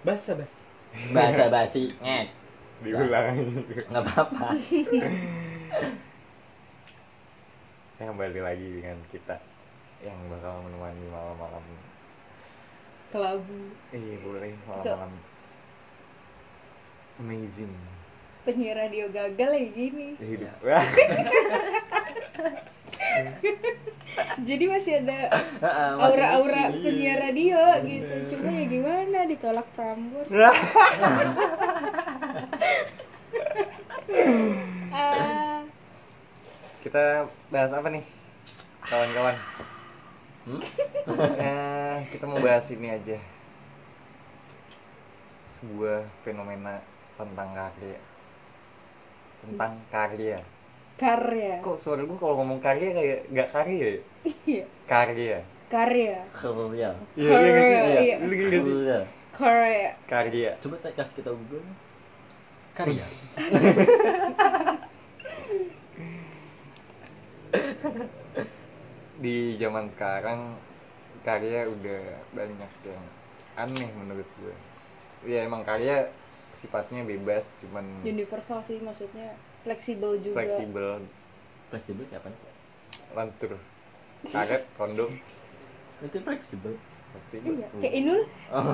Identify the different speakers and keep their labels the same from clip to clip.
Speaker 1: Basah bas.
Speaker 2: bahasa basi nget
Speaker 3: diulangi
Speaker 2: nggak apa-apa
Speaker 3: Eh, kembali lagi dengan kita yang bakal menemani malam-malam
Speaker 4: kelabu
Speaker 3: iya boleh malam-malam amazing
Speaker 4: penyiar radio gagal kayak gini
Speaker 3: hidup
Speaker 4: jadi masih ada
Speaker 2: Heeh, masih
Speaker 4: aura-aura
Speaker 2: lucu.
Speaker 4: penyiar radio
Speaker 3: Iya.
Speaker 4: gitu cuma ya gimana ditolak prambors ah
Speaker 3: kita bahas apa nih kawan-kawan
Speaker 2: Hmm?
Speaker 3: Eh, kita mau bahas ini aja sebuah fenomena tentang karya tentang karya
Speaker 4: karya
Speaker 3: kok suara gue kalau ngomong karya kayak nggak karya ya?
Speaker 4: Iya.
Speaker 3: karya
Speaker 4: karya
Speaker 2: Korea
Speaker 3: Iya, iya, nggak sih?
Speaker 4: Karya, iya.
Speaker 3: Lu ngerti nggak sih?
Speaker 2: Korea
Speaker 4: karya
Speaker 3: karya
Speaker 2: coba tak kasih kita google Kan Korea
Speaker 3: di zaman sekarang karya udah banyak yang aneh menurut gue ya emang karya sifatnya bebas cuman
Speaker 4: universal sih maksudnya fleksibel juga
Speaker 3: fleksibel
Speaker 2: fleksibel kapan sih
Speaker 3: lantur karet kondom
Speaker 2: itu fleksibel
Speaker 3: fleksibel
Speaker 4: iya kayak Inul
Speaker 2: oh,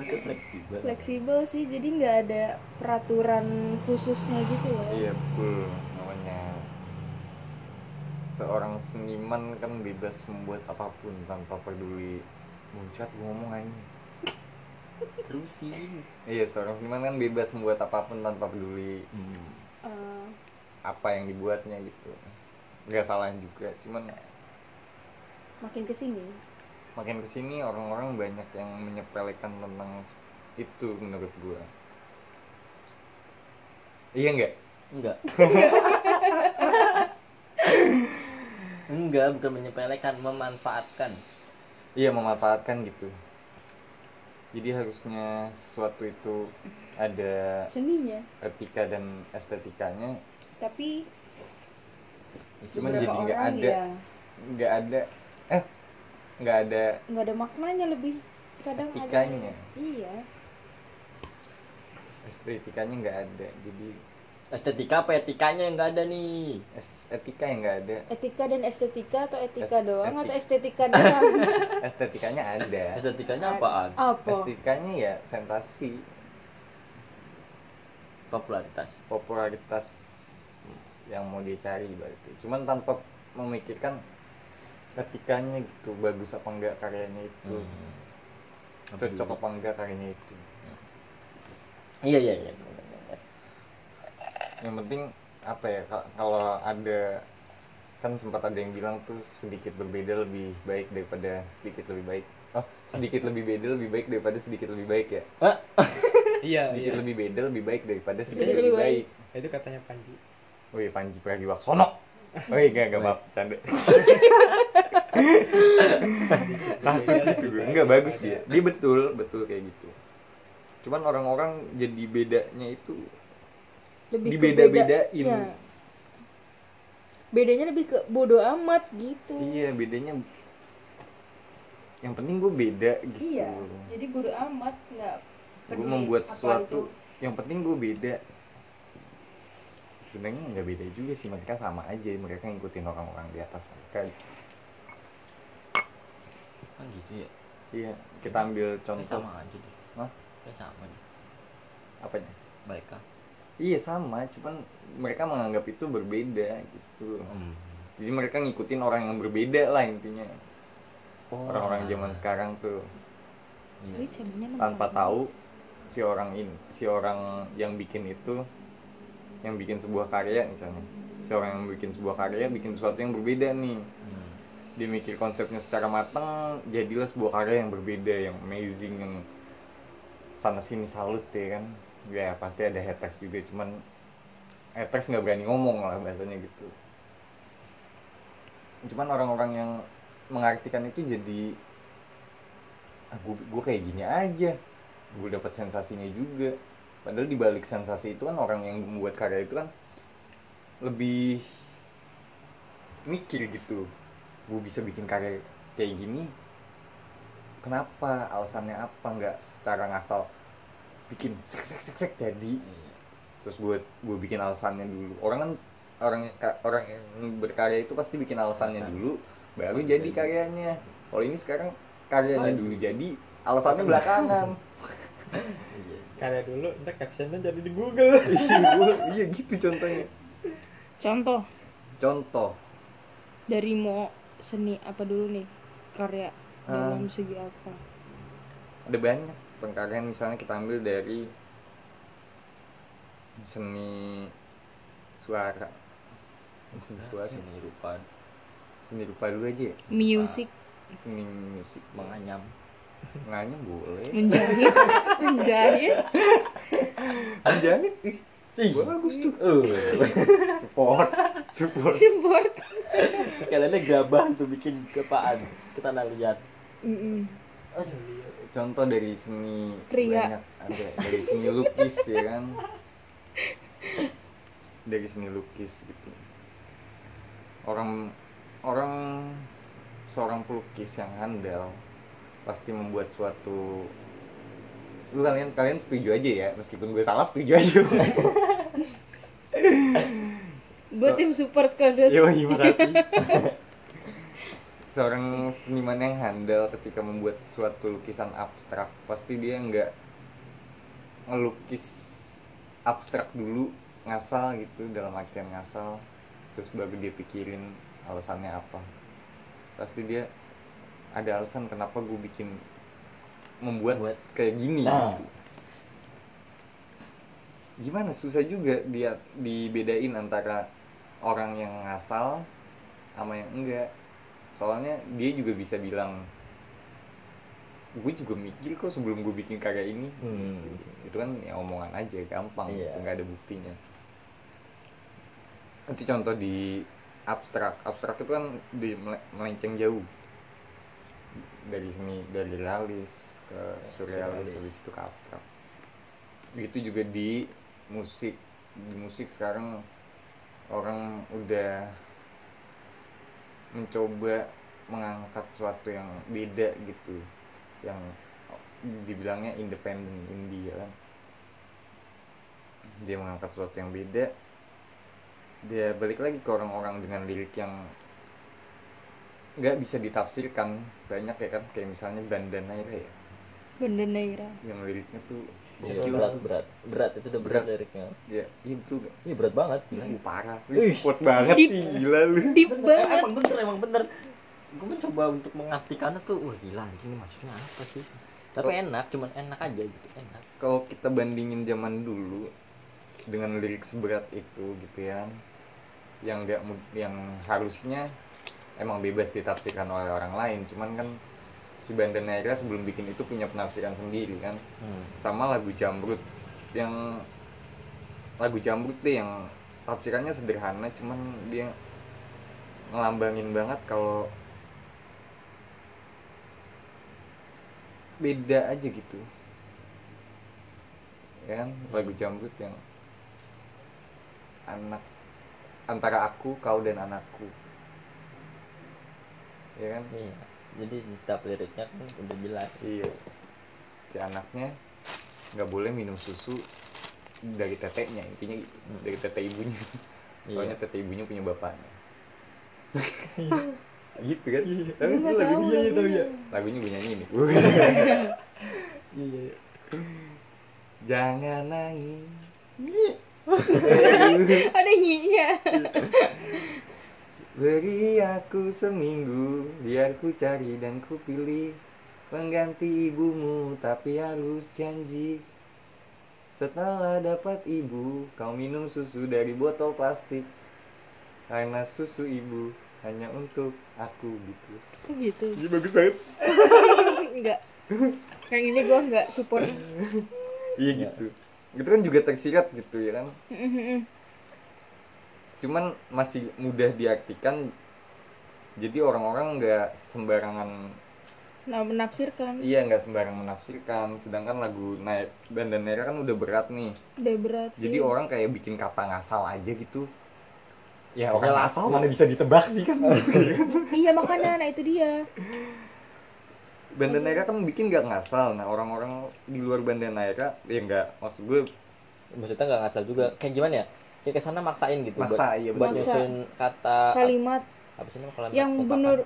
Speaker 2: itu fleksibel
Speaker 4: fleksibel sih jadi nggak ada peraturan khususnya gitu loh
Speaker 3: iya betul namanya seorang seniman kan bebas membuat apapun tanpa peduli muncrat gue ngomong aja
Speaker 2: terus sih
Speaker 3: iya seorang seniman kan bebas membuat apapun tanpa peduli
Speaker 2: hmm.
Speaker 4: Eh,
Speaker 3: apa yang dibuatnya gitu nggak salah juga cuman
Speaker 4: makin kesini
Speaker 3: makin kesini orang-orang banyak yang menyepelekan tentang s- itu menurut gua iya nggak
Speaker 2: enggak enggak bukan menyepelekan memanfaatkan
Speaker 3: iya memanfaatkan gitu jadi harusnya sesuatu itu ada
Speaker 4: seninya
Speaker 3: etika dan estetikanya
Speaker 4: tapi
Speaker 3: cuman
Speaker 4: beberapa
Speaker 3: jadi nggak
Speaker 4: orang
Speaker 3: ada
Speaker 4: ya
Speaker 3: nggak ada eh nggak ada
Speaker 4: nggak ada maknanya lebih kadang
Speaker 3: Etikanya.
Speaker 4: ada iya
Speaker 3: estetikanya nggak ada jadi
Speaker 2: estetika apa etikanya yang enggak ada nih
Speaker 3: es- etika yang nggak ada
Speaker 4: etika dan estetika atau etika
Speaker 3: Es-
Speaker 4: doang
Speaker 3: esti-
Speaker 4: atau estetika doang
Speaker 3: estetikanya ada
Speaker 2: estetikanya apaan
Speaker 4: apa
Speaker 3: estetikanya ya sensasi
Speaker 2: popularitas
Speaker 3: popularitas yang mau dia cari berarti cuman tanpa memikirkan ketikanya gitu bagus apa enggak karyanya itu
Speaker 2: Hmm.
Speaker 3: cocok apa enggak karyanya itu
Speaker 2: iya iya iya
Speaker 3: yang penting apa ya ka- kalau ada kan sempat ada yang bilang tuh sedikit berbeda lebih baik daripada sedikit lebih baik oh sedikit lebih beda lebih baik daripada sedikit lebih baik ya
Speaker 1: Iya
Speaker 3: sedikit
Speaker 1: iya.
Speaker 3: lebih beda lebih baik daripada sedikit,
Speaker 4: Sedikit
Speaker 3: lebih baik,
Speaker 4: lebih
Speaker 1: Itu katanya Panji.
Speaker 3: wih Panji Pragiwaksono wih gak gak maaf canda takut
Speaker 4: Iya,
Speaker 3: gitu gue nggak bagus dia dia betul betul kayak gitu cuman orang-orang jadi bedanya itu
Speaker 4: lebih ke
Speaker 3: dibeda-bedain
Speaker 4: beda- ya. bedanya lebih ke bodoh amat gitu
Speaker 3: iya bedanya yang penting gue beda gitu
Speaker 4: Iya, jadi bodoh amat nggak
Speaker 3: gue membuat
Speaker 4: apa
Speaker 3: sesuatu
Speaker 4: itu.
Speaker 3: yang penting gue beda sebenarnya nggak beda juga sih mereka sama aja mereka ngikutin orang-orang di atas mereka gitu.
Speaker 2: kan gitu ya
Speaker 3: iya kita ambil
Speaker 2: Kayak
Speaker 3: contoh
Speaker 2: sama aja deh
Speaker 3: Hah?
Speaker 2: Kayak sama deh
Speaker 3: apanya
Speaker 2: mereka
Speaker 3: iya sama cuman mereka menganggap itu berbeda gitu
Speaker 2: Hmm.
Speaker 3: jadi mereka ngikutin orang yang berbeda lah intinya orang-orang
Speaker 2: Ah.
Speaker 3: zaman sekarang tuh
Speaker 2: Iya.
Speaker 4: Ini cemennya
Speaker 3: tanpa
Speaker 4: mentah.
Speaker 3: tahu si orang ini si orang yang bikin itu yang bikin sebuah karya misalnya si orang yang bikin sebuah karya bikin sesuatu yang berbeda nih
Speaker 2: Hmm.
Speaker 3: dia mikir konsepnya secara matang jadilah sebuah karya yang berbeda yang amazing yang sana sini salut ya kan ya pasti ada haters juga cuman haters nggak berani ngomong lah bahasanya gitu cuman orang-orang yang mengartikan itu jadi ah, gue kayak gini aja gue dapat sensasinya juga padahal dibalik sensasi itu kan orang yang membuat karya itu kan lebih mikir gitu gue bisa bikin karya kayak gini kenapa alasannya apa nggak secara ngasal bikin sek sek sek sek jadi
Speaker 2: Iya.
Speaker 3: terus buat gue bikin alasannya dulu orang kan orang orang yang berkarya itu pasti bikin alasannya
Speaker 2: Alasan.
Speaker 3: dulu baru
Speaker 2: Baru
Speaker 3: jadi
Speaker 2: jadi.
Speaker 3: karyanya kalau ini sekarang karyanya
Speaker 2: Oh.
Speaker 3: dulu jadi alasannya
Speaker 2: Alasan
Speaker 3: belakangan
Speaker 2: Iya.
Speaker 1: Karya dulu, ntar captionnya jadi di Google.
Speaker 3: Iya, gua- iya gitu contohnya
Speaker 4: Contoh
Speaker 3: contoh
Speaker 4: dari mau seni apa dulu nih karya
Speaker 3: Ah.
Speaker 4: dalam segi apa?
Speaker 3: ada banyak pengkaryan misalnya kita ambil dari seni suara seni suara
Speaker 2: Seni iya. rupa
Speaker 3: seni rupa dulu aja ya
Speaker 4: Music,
Speaker 3: seni musik
Speaker 2: menganyam.
Speaker 3: menganyam boleh
Speaker 4: menjahit, menjahit,
Speaker 3: menjahit ih
Speaker 2: Sih.
Speaker 3: bagus tuh
Speaker 2: Eh,
Speaker 3: support support
Speaker 4: support.
Speaker 2: kalian gabah tuh bikin kepaan. Kita nggak lihat.
Speaker 4: Mm-mm.
Speaker 3: contoh dari seni
Speaker 4: Pria.
Speaker 3: banyak ada dari seni lukis ya kan dari seni lukis gitu orang orang seorang pelukis yang handal pasti membuat suatu Lu kalian kalian setuju aja ya meskipun gue salah setuju aja
Speaker 4: Gue tim support kode.
Speaker 3: Yo, terima kasih. Seorang seniman yang handal ketika membuat suatu lukisan abstrak, pasti dia nggak ngelukis abstrak dulu ngasal gitu dalam artian ngasal terus baru dia pikirin alasannya apa pasti dia ada alasan kenapa gue bikin membuat
Speaker 2: Buat.
Speaker 3: kayak gini
Speaker 2: Nah.
Speaker 3: gitu. gimana susah juga dia dibedain antara orang yang ngasal sama yang enggak soalnya dia juga bisa bilang gue juga mikir kok sebelum gue bikin karya ini
Speaker 2: Hmm.
Speaker 3: itu kan ya omongan aja gampang
Speaker 2: Iya.
Speaker 3: nggak ada buktinya itu contoh di abstrak abstrak itu kan di mele- melenceng jauh dari sini dari realis ke surrealis
Speaker 2: surrealis.
Speaker 3: habis itu ke abstrak itu juga di musik di musik sekarang orang udah mencoba mengangkat suatu yang beda gitu yang dibilangnya independen India kan dia mengangkat sesuatu yang beda dia balik lagi ke orang-orang dengan lirik yang nggak bisa ditafsirkan banyak ya kan kayak misalnya Bandana ya
Speaker 4: Benda Naira.
Speaker 3: yang liriknya tuh
Speaker 2: Iya,
Speaker 3: gokil.
Speaker 2: berat, berat, berat itu udah berat
Speaker 3: Berat.
Speaker 2: liriknya.
Speaker 3: ya itu gak
Speaker 2: Ini berat banget.
Speaker 3: Ih, parah lu support banget
Speaker 4: Deep.
Speaker 3: sih gila lu
Speaker 4: Deep
Speaker 2: Bener,
Speaker 4: banget.
Speaker 2: Eh, Emang bener, emang bener. Gue mencoba untuk mengartikannya tuh, wah gila anjing ini maksudnya apa sih? Tapi enak, cuman enak aja gitu, enak.
Speaker 3: kalau kita bandingin zaman dulu dengan lirik seberat itu gitu ya yang nggak mu- yang harusnya emang bebas ditafsirkan oleh orang lain cuman kan si Banda Naira sebelum bikin itu punya penafsiran sendiri kan
Speaker 2: Hmm.
Speaker 3: sama lagu Jamrut yang lagu Jamrut deh yang tafsirannya sederhana cuman dia ngelambangin banget kalau beda aja gitu ya kan lagu Jamrut yang anak antara aku kau dan anakku ya kan
Speaker 2: Iya. Jadi di setiap liriknya kan udah jelas.
Speaker 3: Iya. Si anaknya nggak boleh minum susu dari teteknya intinya gitu
Speaker 2: Hmm.
Speaker 3: dari tete ibunya soalnya
Speaker 2: Iya.
Speaker 3: tete ibunya punya bapaknya gitu kan tapi
Speaker 4: Gue
Speaker 3: itu
Speaker 4: nggak tahu
Speaker 1: iya,
Speaker 3: lagunya
Speaker 1: tapi
Speaker 4: lagunya.
Speaker 1: ya.
Speaker 3: lagunya gue nyanyi nih
Speaker 1: Iya, iya.
Speaker 3: jangan nangis
Speaker 4: Ada nyinya.
Speaker 3: beri aku seminggu biar ku cari dan ku pilih pengganti ibumu tapi harus janji Setelah dapat ibu, kau minum susu dari botol plastik. Karena susu ibu hanya untuk aku gitu.
Speaker 4: Kok gitu?
Speaker 3: Iya bagus banget.
Speaker 4: enggak. Yang ini gue enggak support.
Speaker 3: Iya gitu. Itu kan juga tersirat gitu ya kan. Cuman masih mudah diartikan. Jadi orang-orang nggak sembarangan
Speaker 4: nah, menafsirkan.
Speaker 3: iya nggak sembarangan menafsirkan sedangkan lagu naik dan Danera kan udah berat nih
Speaker 4: Udah berat sih.
Speaker 3: jadi orang kayak bikin kata ngasal aja gitu ya
Speaker 2: Pokoknya
Speaker 3: orang ngasal mana bisa ditebak sih kan
Speaker 4: Iya makanya, nah itu dia.
Speaker 3: Banda Naira kan bikin gak ngasal. Nah, orang-orang di luar Banda Naira ya nggak maksud gue
Speaker 2: maksudnya nggak ngasal juga kayak gimana ya kayak kesana maksain gitu buat-
Speaker 3: maksa ya
Speaker 2: buat
Speaker 3: bener.
Speaker 4: Maksa.
Speaker 2: nyusun kata
Speaker 3: Ah,
Speaker 4: kalimat
Speaker 2: apa sih nama kalimat
Speaker 4: yang
Speaker 2: ungkapan?
Speaker 4: bener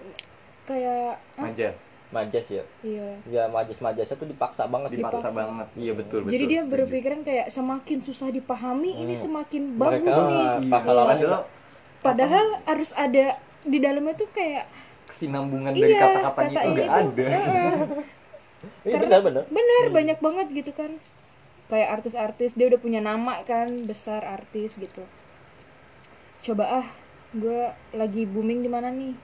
Speaker 4: kayak ah,
Speaker 3: Majas,
Speaker 2: majas ya
Speaker 4: iya
Speaker 2: ya majas majasnya tuh dipaksa banget gitu.
Speaker 4: Dipaksa.
Speaker 3: dipaksa banget. Iya betul betul.
Speaker 4: jadi dia
Speaker 3: setuju.
Speaker 4: berpikiran kayak semakin susah dipahami ini
Speaker 2: Hmm.
Speaker 4: semakin
Speaker 2: Mereka
Speaker 4: bagus nih
Speaker 2: mah
Speaker 3: Iya,
Speaker 2: bakalan
Speaker 3: padahal
Speaker 4: padahal harus ada di dalamnya tuh kayak
Speaker 3: kesinambungan dari
Speaker 4: iya
Speaker 3: kata-katanya
Speaker 4: katanya
Speaker 3: itu nggak
Speaker 4: itu
Speaker 3: ada.
Speaker 4: eh, eh.
Speaker 2: Iya
Speaker 4: Karena-
Speaker 2: benar benar
Speaker 4: bener
Speaker 2: Hmm.
Speaker 4: banyak banget gitu kan kayak artis-artis dia udah punya nama kan besar artis gitu coba ah gue lagi booming di mana nih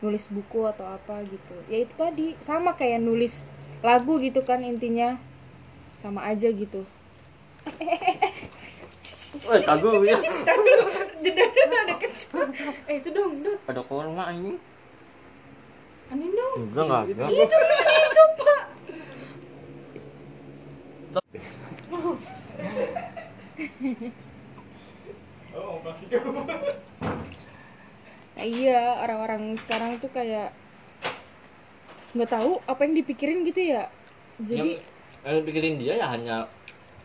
Speaker 4: nulis buku atau apa gitu ya itu tadi sama kayak nulis lagu gitu kan intinya sama aja gitu
Speaker 2: wah kagum ya
Speaker 4: jeda dulu ada kecil eh itu dong dong
Speaker 2: ada korma Gitu. ini
Speaker 4: aneh dong
Speaker 2: enggak enggak enggak
Speaker 1: Oh, pasti kamu.
Speaker 4: nah, iya orang-orang sekarang tuh kayak nggak tahu apa yang dipikirin gitu ya jadi
Speaker 2: yang, yang pikirin dia ya hanya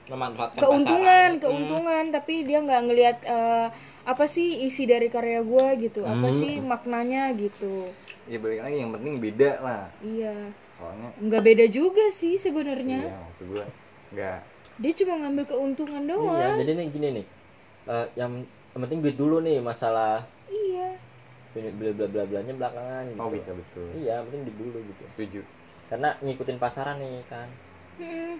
Speaker 2: memanfaatkan
Speaker 4: keuntungan
Speaker 2: pasaran. Hmm.
Speaker 4: keuntungan tapi dia nggak ngelihat eh, apa sih isi dari karya gua gitu apa
Speaker 2: Hmm.
Speaker 4: sih maknanya gitu
Speaker 3: Ya balik lagi yang penting beda lah.
Speaker 4: iya
Speaker 3: Soalnya
Speaker 4: nggak beda juga sih
Speaker 3: iya
Speaker 4: sebenarnya
Speaker 3: maksud gue nggak
Speaker 4: dia cuma ngambil keuntungan
Speaker 2: Hmm. iya
Speaker 4: doang
Speaker 2: jadi nih gini nih Eh, yang, yang penting duit dulu nih masalah
Speaker 4: iya
Speaker 2: bla bla bla bla blanya belakangan gitu
Speaker 3: mau Oh, bisa betul.
Speaker 2: iya yang penting duit dulu gitu
Speaker 3: Setuju.
Speaker 2: karena ngikutin pasaran nih kan
Speaker 4: Mm-mm.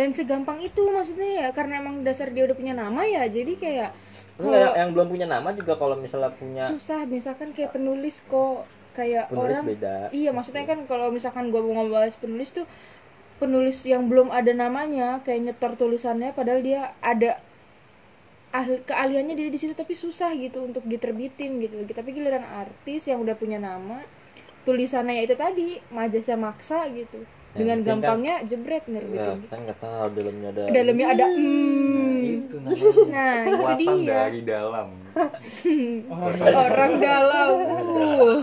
Speaker 4: dan segampang itu maksudnya ya karena emang dasar dia udah punya nama ya jadi kayak
Speaker 2: Enggak,
Speaker 4: Kalau-
Speaker 2: yang, yang belum punya nama juga kalau misalnya punya
Speaker 4: susah misalkan kayak penulis kok
Speaker 2: Iya.
Speaker 4: kayak
Speaker 2: penulis
Speaker 4: orang
Speaker 2: beda
Speaker 4: Iya maksudnya kan kalau misalkan gue mau ngebahas penulis tuh penulis yang belum ada namanya kayak nyetor tulisannya padahal dia ada ahli, keahliannya dia di situ tapi susah gitu untuk diterbitin gitu tapi giliran artis yang udah punya nama tulisannya ya itu tadi majasnya maksa gitu
Speaker 2: Ya,
Speaker 4: dengan
Speaker 2: mungkin kan-
Speaker 4: gampangnya jebret
Speaker 2: ya,
Speaker 4: nerbitin gitu.
Speaker 2: kita nggak tahu dalamnya ada
Speaker 4: dalamnya ada
Speaker 3: Nah,
Speaker 4: hmm
Speaker 3: itu namanya
Speaker 4: nah itu
Speaker 3: kekuatan
Speaker 4: dia
Speaker 2: gitu.
Speaker 3: dari dalam.
Speaker 4: orang galau uh.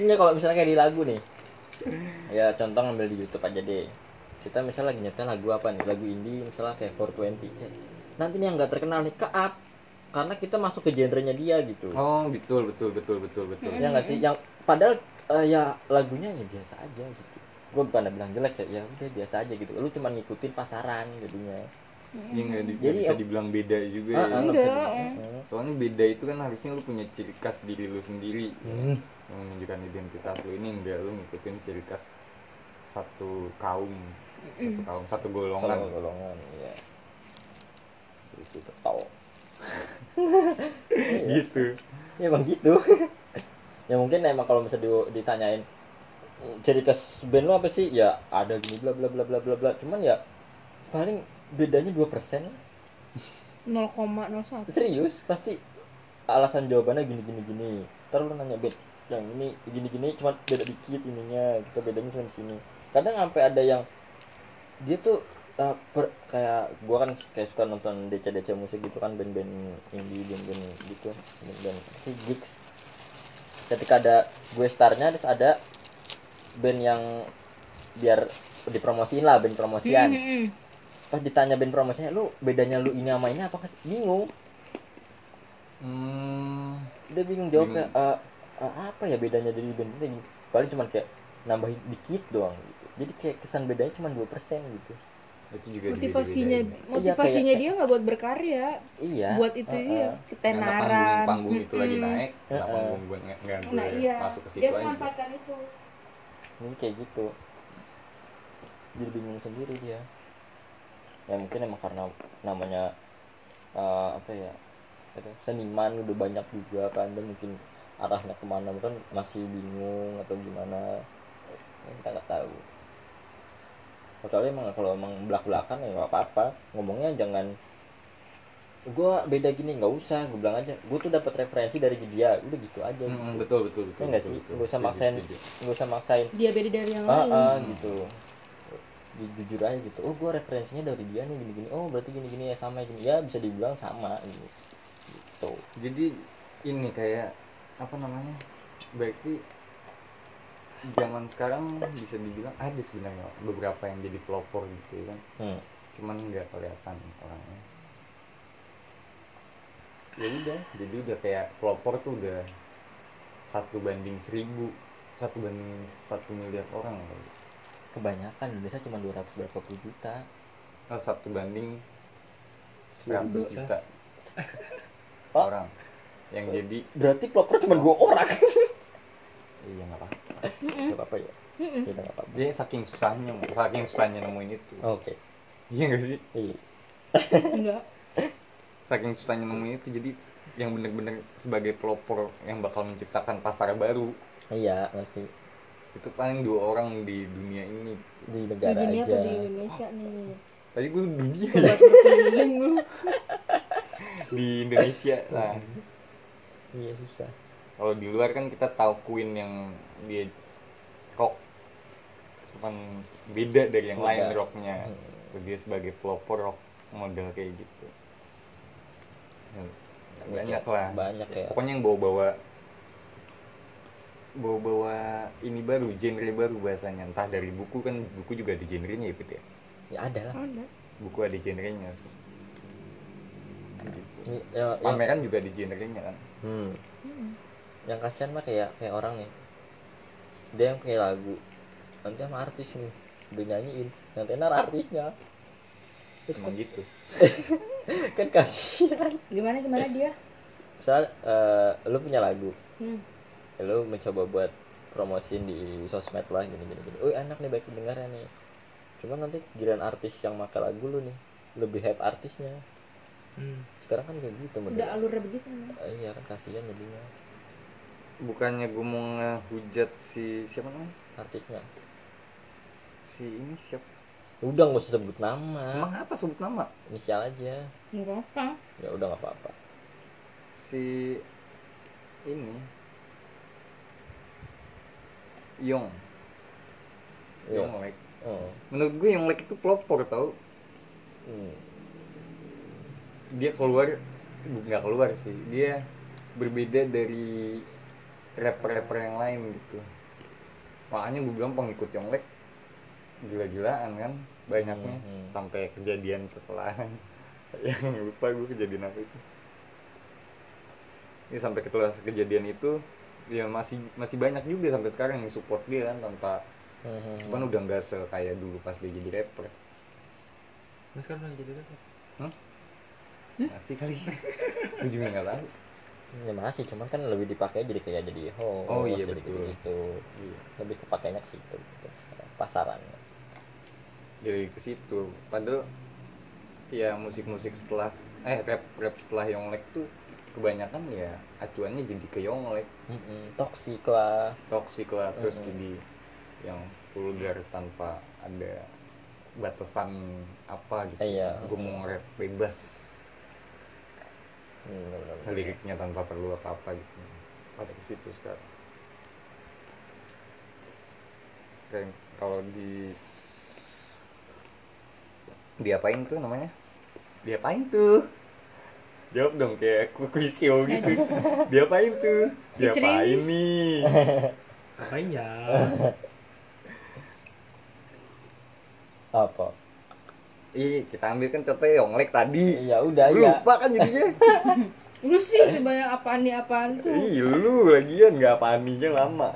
Speaker 2: Enggak kalau misalnya kayak di lagu nih. Ya contoh ngambil di YouTube aja deh. Kita misalnya lagi nyetel lagu apa nih? Lagu indie misalnya kayak 420. Cek. Nanti nih yang nggak terkenal nih ke up karena kita masuk ke genrenya dia gitu.
Speaker 3: Oh, betul betul betul betul betul.
Speaker 2: Ya nggak sih? Yang padahal eh, ya lagunya ya biasa aja gitu. Gue bukan bilang jelek ya, ya udah biasa aja gitu. Lu cuma ngikutin pasaran jadinya.
Speaker 3: Iya nggak di- nggak
Speaker 2: Jadi,
Speaker 3: bisa
Speaker 2: em-
Speaker 3: dibilang beda juga
Speaker 2: Ah,
Speaker 3: ya.
Speaker 2: ah, nggak bisa
Speaker 4: Enggak, eh. Hmm.
Speaker 2: dibilang.
Speaker 3: Soalnya beda itu kan harusnya lu punya ciri khas diri lu sendiri
Speaker 2: Hmm.
Speaker 3: yang menunjukkan identitas lu ini enggak lu ngikutin ciri khas satu kaum, satu kaum, satu golongan.
Speaker 2: Kalau golongan ya. Itu ketawa. Iya.
Speaker 3: Gitu.
Speaker 2: ya emang gitu ya mungkin emang kalau misalnya di- ditanyain ciri khas band lo apa sih ya ada gini bla bla bla bla bla bla cuman ya paling bedanya dua persen
Speaker 4: 0,01
Speaker 2: serius pasti alasan jawabannya gini gini gini terus lu nanya band yang ini gini gini cuma beda dikit ininya kita bedanya cuma di sini kadang sampai ada yang dia tuh eh, per- kayak gua kan kayak suka nonton DC DC musik gitu kan band-band indie band-band gitu band-band si gigs ketika ada gue starnya terus ada band yang biar dipromosiin lah band promosian
Speaker 4: Mm-mm.
Speaker 2: pas ditanya band promosinya lu bedanya lu ini sama ini apa bingung
Speaker 3: Hmm,
Speaker 2: dia bingung jawabnya "Eh, eh, apa ya bedanya dari band kita gini?" paling cuman kayak nambahin dikit doang gitu. jadi kayak kesan bedanya cuma 2% gitu
Speaker 3: itu juga
Speaker 4: motivasinya
Speaker 3: dibedain.
Speaker 4: motivasinya
Speaker 2: Iya, kayak-
Speaker 4: dia nggak buat berkarya
Speaker 2: iya
Speaker 4: buat itu
Speaker 2: eh,
Speaker 4: dia
Speaker 2: eh.
Speaker 3: Karena panggung,
Speaker 4: ketenaran
Speaker 3: panggung itu lagi
Speaker 4: Mm-mm.
Speaker 3: naik, kenapa
Speaker 2: Heeh.
Speaker 3: panggung gue nggak nggak
Speaker 4: nah
Speaker 3: gue
Speaker 4: iya
Speaker 3: masuk ke situ
Speaker 4: dia
Speaker 3: aja?
Speaker 4: memanfaatkan itu
Speaker 2: ini kayak gitu jadi bingung sendiri dia ya mungkin emang karena namanya eh, apa ya apa ya, seniman udah banyak juga kan dan mungkin arahnya kemana kan masih bingung atau gimana Ya, kita nggak tahu kecuali emang kalau emang belak belakan ya nggak apa apa ngomongnya jangan gua beda gini nggak usah gue bilang aja gue tuh dapat referensi dari dia udah gitu aja
Speaker 3: Mm, mm,
Speaker 2: gitu.
Speaker 3: betul betul betul.
Speaker 2: Iya nggak
Speaker 3: betul,
Speaker 2: sih?
Speaker 3: betul.
Speaker 2: Nggak usah
Speaker 3: Setuju,
Speaker 2: maksain.
Speaker 3: setuju.
Speaker 2: Nggak usah maksain
Speaker 4: dia beda dari yang
Speaker 2: ah,
Speaker 4: lain
Speaker 2: ah,
Speaker 3: Hmm.
Speaker 2: gitu Ju- jujur aja gitu oh gue referensinya dari dia nih gini gini oh berarti gini gini ya sama ya gini ya bisa dibilang sama gitu gitu
Speaker 3: Jadi ini kayak apa namanya? Berarti zaman sekarang bisa dibilang ada sebenarnya beberapa yang jadi pelopor gitu ya kan
Speaker 2: Hmm.
Speaker 3: cuman nggak kelihatan orangnya ya udah jadi udah kayak pelopor tuh udah satu banding seribu satu banding satu miliar orang kali
Speaker 2: Kebanyakan Indonesia cuma 200 berapa puluh juta.
Speaker 3: oh, satu banding seratus
Speaker 1: Seribu.
Speaker 3: juta
Speaker 2: Pak.
Speaker 3: orang yang jadi
Speaker 2: Berarti pelopor cuma dua orang.
Speaker 3: iya nggak apa
Speaker 2: Gak apa-apa ya.
Speaker 4: Mm-mm.
Speaker 2: Ya udah nggak apa-apa.
Speaker 3: dia saking susahnya saking susahnya nemuin itu
Speaker 2: Oke.
Speaker 3: iya nggak sih
Speaker 2: Iya.
Speaker 4: enggak
Speaker 3: saking susahnya nemuin itu jadi yang bener-bener sebagai pelopor yang bakal menciptakan pasar baru
Speaker 2: Iya, ngerti.
Speaker 3: itu paling dua orang di dunia ini
Speaker 2: Di
Speaker 4: di
Speaker 2: negara
Speaker 4: dunia
Speaker 2: aja.
Speaker 4: atau di Indonesia nih
Speaker 3: tadi gue dunia
Speaker 4: sobat berkeliling lu
Speaker 3: ya, di Indonesia lah
Speaker 2: Iya, susah.
Speaker 3: kalau di luar kan kita tahu Queen yang dia rock cuman beda dari yang lain
Speaker 2: Beda.
Speaker 3: rocknya
Speaker 2: Hmm.
Speaker 3: dia sebagai pelopor rock model kayak gitu Ya, banyak lah
Speaker 2: Banyak ya.
Speaker 3: pokoknya yang bawa-bawa bawa-bawa ini baru genre baru bahasanya entah dari buku kan buku juga ada genrenya ya Fit, ya
Speaker 2: Ya ada lah.
Speaker 4: Ada.
Speaker 3: buku ada genrenya Gitu.
Speaker 2: Ini, Ya, ya.
Speaker 3: pameran juga ada genrenya kan
Speaker 2: Hmm.
Speaker 4: Mm.
Speaker 2: yang kasihan mah kayak kayak orang nih dia yang kayak lagu nanti sama artis nih udah nyanyiin nanti nar artisnya terus
Speaker 3: cuma gitu
Speaker 2: kan, kan kasihan
Speaker 4: gimana gimana dia
Speaker 2: misal eh, lu punya lagu Ya
Speaker 4: Hmm.
Speaker 2: lu mencoba buat promosiin di sosmed lah gini gini gini oh enak nih baik pendengarnya nih cuma nanti giliran artis yang make lagu lu nih lebih hype artisnya
Speaker 1: Hmm.
Speaker 2: sekarang kan kayak gitu
Speaker 4: udah
Speaker 2: model
Speaker 4: alurnya begitu emang.
Speaker 2: Eh, iya kan kasihan jadinya
Speaker 3: bukannya gue mau ngehujat si siapa namanya
Speaker 2: artisnya
Speaker 3: si ini siapa
Speaker 2: udah nggak usah sebut nama
Speaker 3: emang apa sebut nama
Speaker 2: inisial aja
Speaker 4: nggak apa-apa
Speaker 2: ya udah nggak apa-apa
Speaker 3: si ini Yong
Speaker 2: Iya.
Speaker 3: Yong Lek
Speaker 2: oh.
Speaker 3: menurut gue Yong Lek itu pelopor tau
Speaker 2: Hmm.
Speaker 3: dia keluar bu- nggak keluar sih dia berbeda dari rapper-rapper yang lain gitu makanya gue bilang pengikut Yonglek gila-gilaan kan banyaknya
Speaker 2: Hmm, hmm.
Speaker 3: sampai kejadian setelah yang lupa gue kejadian apa itu ini sampai setelah kejadian itu ya masih masih banyak juga sampai sekarang yang support dia kan tanpa
Speaker 2: Mhm.
Speaker 3: cuman udah nggak se kayak dulu pas dia jadi rapper
Speaker 1: Nah sekarang lagi jadi apa?
Speaker 3: masih kali gue juga nggak tahu
Speaker 2: Ya masih, cuman kan lebih dipakai jadi kayak jadi host,
Speaker 3: Oh, iya,
Speaker 2: jadi
Speaker 3: betul.
Speaker 2: gitu.
Speaker 3: Iya.
Speaker 2: Lebih kepakainya ke situ gitu. Pasarannya.
Speaker 3: dari ke situ padahal ya musik-musik setelah eh rap rap setelah Yonglek tuh kebanyakan ya acuannya jadi ke Yonglek
Speaker 2: Mm-mm. Toksik lah.
Speaker 3: toksik lah terus
Speaker 2: Mm-mm.
Speaker 3: jadi yang vulgar tanpa ada batasan apa gitu
Speaker 2: Iya.
Speaker 3: gue mau rap bebas
Speaker 2: Hmm, bener-bener.
Speaker 3: liriknya tanpa perlu apa apa gitu pada ke situ sekarang kayak kalau di diapain tuh namanya diapain tuh jawab dong kayak ku- kuisio gitu diapain tuh diapain
Speaker 4: Dicerilis.
Speaker 3: nih
Speaker 1: Ngapain ya?
Speaker 2: Apa?
Speaker 3: Ih, kita ambil kan contohnya Yonglek tadi
Speaker 2: Ya udah
Speaker 3: Lu
Speaker 2: ya.
Speaker 3: lupa kan jadinya
Speaker 4: lu sih sebanyak apaan nih apaan tuh
Speaker 3: Ih, lu lagian nggak paninya lama.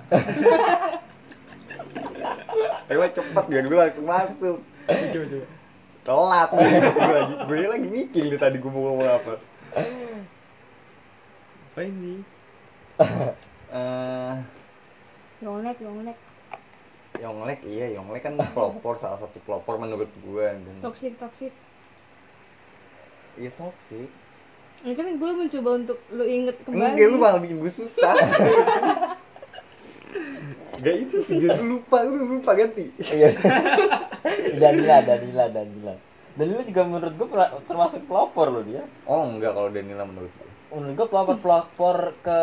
Speaker 3: Ayo cepet biar gue langsung masuk.
Speaker 1: Ayo, Coba coba.
Speaker 3: Telat. gue lagi, gue lagi mikir nih tadi gue mau ngomong apa.
Speaker 1: Apa ini?
Speaker 3: Eh,
Speaker 4: yolek yolek
Speaker 3: Hmm. Yonglek iya Yonglek kan pelopor salah satu pelopor menurut gue dan
Speaker 4: toksik toksik
Speaker 3: iya toksik.
Speaker 4: ini kan gue mencoba untuk lu inget kembali
Speaker 3: Enggak lu malah bikin gue susah. Gak itu sih jadi lupa lu lupa ganti.
Speaker 2: Iya. Danila, Danila, Danila. Danila juga menurut gue per- termasuk pelopor loh dia.
Speaker 3: Oh enggak kalau Danila menurut gue.
Speaker 2: Menurut gue pelopor-pelopor ke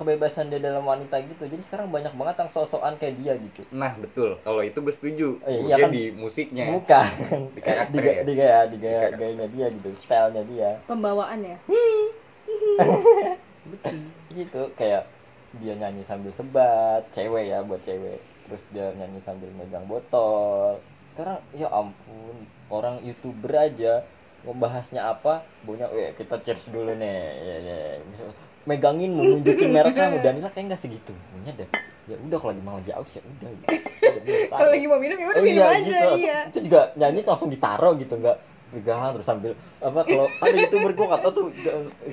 Speaker 2: kebebasan dia dalam wanita gitu. Jadi sekarang banyak banget yang sosokan kayak dia gitu.
Speaker 3: Nah betul kalau itu gue setuju.
Speaker 2: Eh,
Speaker 3: Gue
Speaker 2: iya kan?
Speaker 3: di musiknya.
Speaker 2: Bukan.
Speaker 3: Di karakter
Speaker 2: Di, ga-
Speaker 3: ya?
Speaker 2: di gaya, di gaya, gayanya dia gitu, stylenya dia.
Speaker 4: pembawaan ya
Speaker 2: gitu kayak dia nyanyi sambil sebat cewek ya buat cewek terus dia nyanyi sambil megang botol sekarang ya ampun orang youtuber aja membahasnya apa punya eh kita cheers dulu nih ya, ya. megangin mau nunjukin merek kamu dan kayak nggak segitu punya deh ya udah kalau lagi mau lagi aus ya udah gitu. Udah, udah, taruh.
Speaker 4: Kalau lagi mau minum ya udah
Speaker 2: Oh
Speaker 4: minum aja,
Speaker 2: gitu.
Speaker 4: iya.
Speaker 2: Itu juga nyanyi langsung ditaruh gitu, enggak pegangan terus sambil apa kalau ada youtuber gue nggak tahu tuh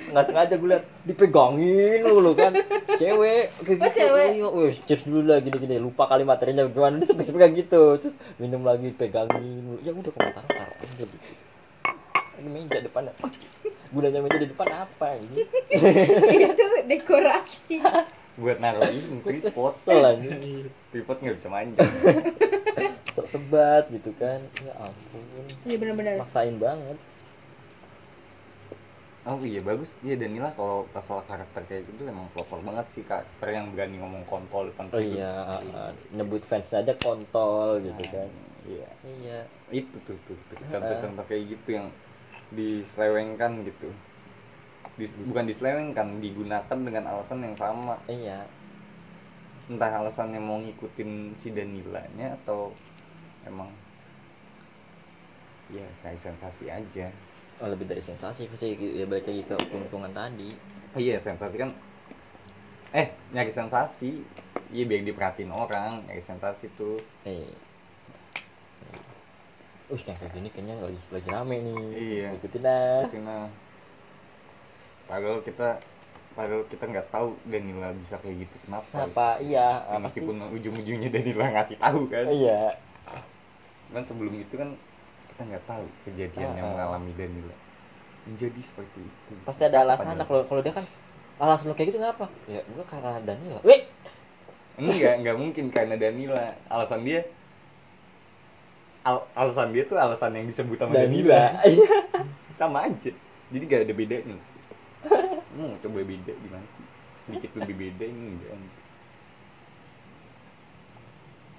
Speaker 2: nggak sengaja gue liat dipegangin lu kan cewek kayak
Speaker 4: Oh, cewek.
Speaker 2: iya, wih, cheers dulu lah gini gini lupa kali materinya gimana dia sampai pegang gitu terus minum lagi pegangin lu ya udah komentar taruh aja gitu ini meja depannya gunanya meja di depan apa ini
Speaker 4: itu dekorasi.
Speaker 3: buat naruh ini
Speaker 2: Gua
Speaker 3: tripod
Speaker 2: kesel anjing.
Speaker 3: tripod nggak bisa manjat
Speaker 2: Sok sebat gitu kan ya ampun
Speaker 4: Iya benar-benar.
Speaker 2: maksain banget
Speaker 3: oh iya bagus iya Danila kalau masalah karakter kayak gitu emang proper banget sih karakter yang berani ngomong kontol depan
Speaker 2: Oh
Speaker 3: publik.
Speaker 2: iya, uh, nyebut fansnya aja kontol gitu kan. Eh.
Speaker 3: iya
Speaker 2: Iya.
Speaker 3: itu tuh tuh tuh. contoh-contoh kayak gitu yang diselewengkan gitu Dis- bukan diselewengkan digunakan dengan alasan yang sama
Speaker 2: Iya.
Speaker 3: entah alasannya mau ngikutin si Danilanya atau emang ya kayak sensasi aja
Speaker 2: Oh, lebih dari sensasi pasti ya balik lagi ke untung-untungan tadi.
Speaker 3: oh iya sensasi kan eh nyari sensasi iya biar diperhatiin orang nyari sensasi tuh
Speaker 2: Eh. Uh, yang kayak gini kayaknya lagi lagi rame nih.
Speaker 3: Iya.
Speaker 2: Ikutin lah.
Speaker 3: karena padahal kita padahal kita nggak tahu Danila bisa kayak gitu kenapa,
Speaker 2: Kenapa? Iya.
Speaker 3: Ya,
Speaker 2: ah, pasti-
Speaker 3: meskipun ujung-ujungnya Danila ngasih tahu kan
Speaker 2: Iya.
Speaker 3: kan sebelum itu kan kita nggak tahu kejadian
Speaker 2: Ah,
Speaker 3: yang
Speaker 2: ah.
Speaker 3: mengalami Danila menjadi seperti itu
Speaker 2: Pasti ada
Speaker 3: Kenapa
Speaker 2: alasan.
Speaker 3: Danila?
Speaker 2: Nah, kalau kalau dia kan alasan lo kayak gitu kenapa? Ya, gua karena Daniel. Wih,
Speaker 3: enggak enggak mungkin karena Danila alasan dia al- alasan dia tuh alasan yang disebut sama Danila,
Speaker 2: Danila. Iya.
Speaker 3: sama aja jadi gak ada bedanya mau coba beda gimana sih sedikit lebih beda ini enggak anjir.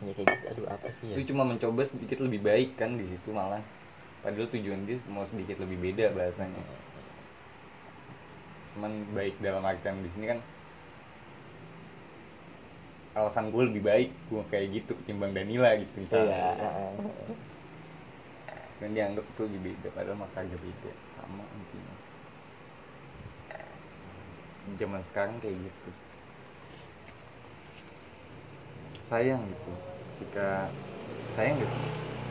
Speaker 2: Ya kayak gitu. Aduh, apa sih ya?
Speaker 3: lu cuma mencoba sedikit lebih baik kan di situ malah padahal tujuan dia mau sedikit lebih beda bahasanya cuman baik dalam artian di sini kan alasan gue lebih baik gue kayak gitu ketimbang Danila gitu
Speaker 2: Iya.
Speaker 3: misalnya
Speaker 2: ah, ah.
Speaker 3: dan dianggap itu lebih beda padahal mah kagak beda sama intinya zaman sekarang kayak gitu sayang gitu ketika sayang gitu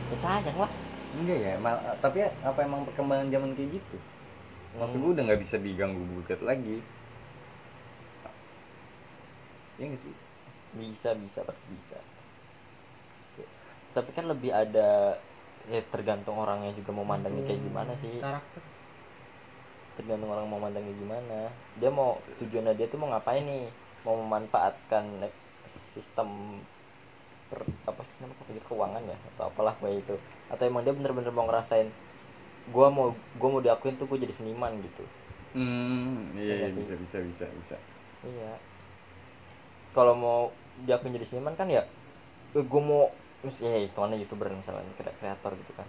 Speaker 2: Ya, sayang lah.
Speaker 3: enggak ya mal- tapi apa emang perkembangan zaman kayak gitu maksud gue udah nggak bisa diganggu gugat lagi ya nggak sih
Speaker 2: bisa bisa pasti bisa tapi kan lebih ada ya tergantung orangnya juga mau mandangnya kayak
Speaker 1: Hmm.
Speaker 2: gimana sih
Speaker 1: Karakter.
Speaker 2: tergantung orang mau mandangnya gimana dia mau tujuannya dia tuh mau ngapain nih mau memanfaatkan eh, sistem per, apa sih namanya apa gitu, keuangan ya atau apalah kayak itu atau emang dia bener-bener mau ngerasain gua mau gua mau diakuin tuh gue jadi seniman gitu
Speaker 3: hmm
Speaker 2: Iya
Speaker 3: iya, iya
Speaker 2: sih.
Speaker 3: bisa bisa bisa bisa
Speaker 2: Iya. Kalau mau diakuin jadi seniman kan ya, gue mau terus ya hitungannya youtuber misalnya kre- kreator gitu kan.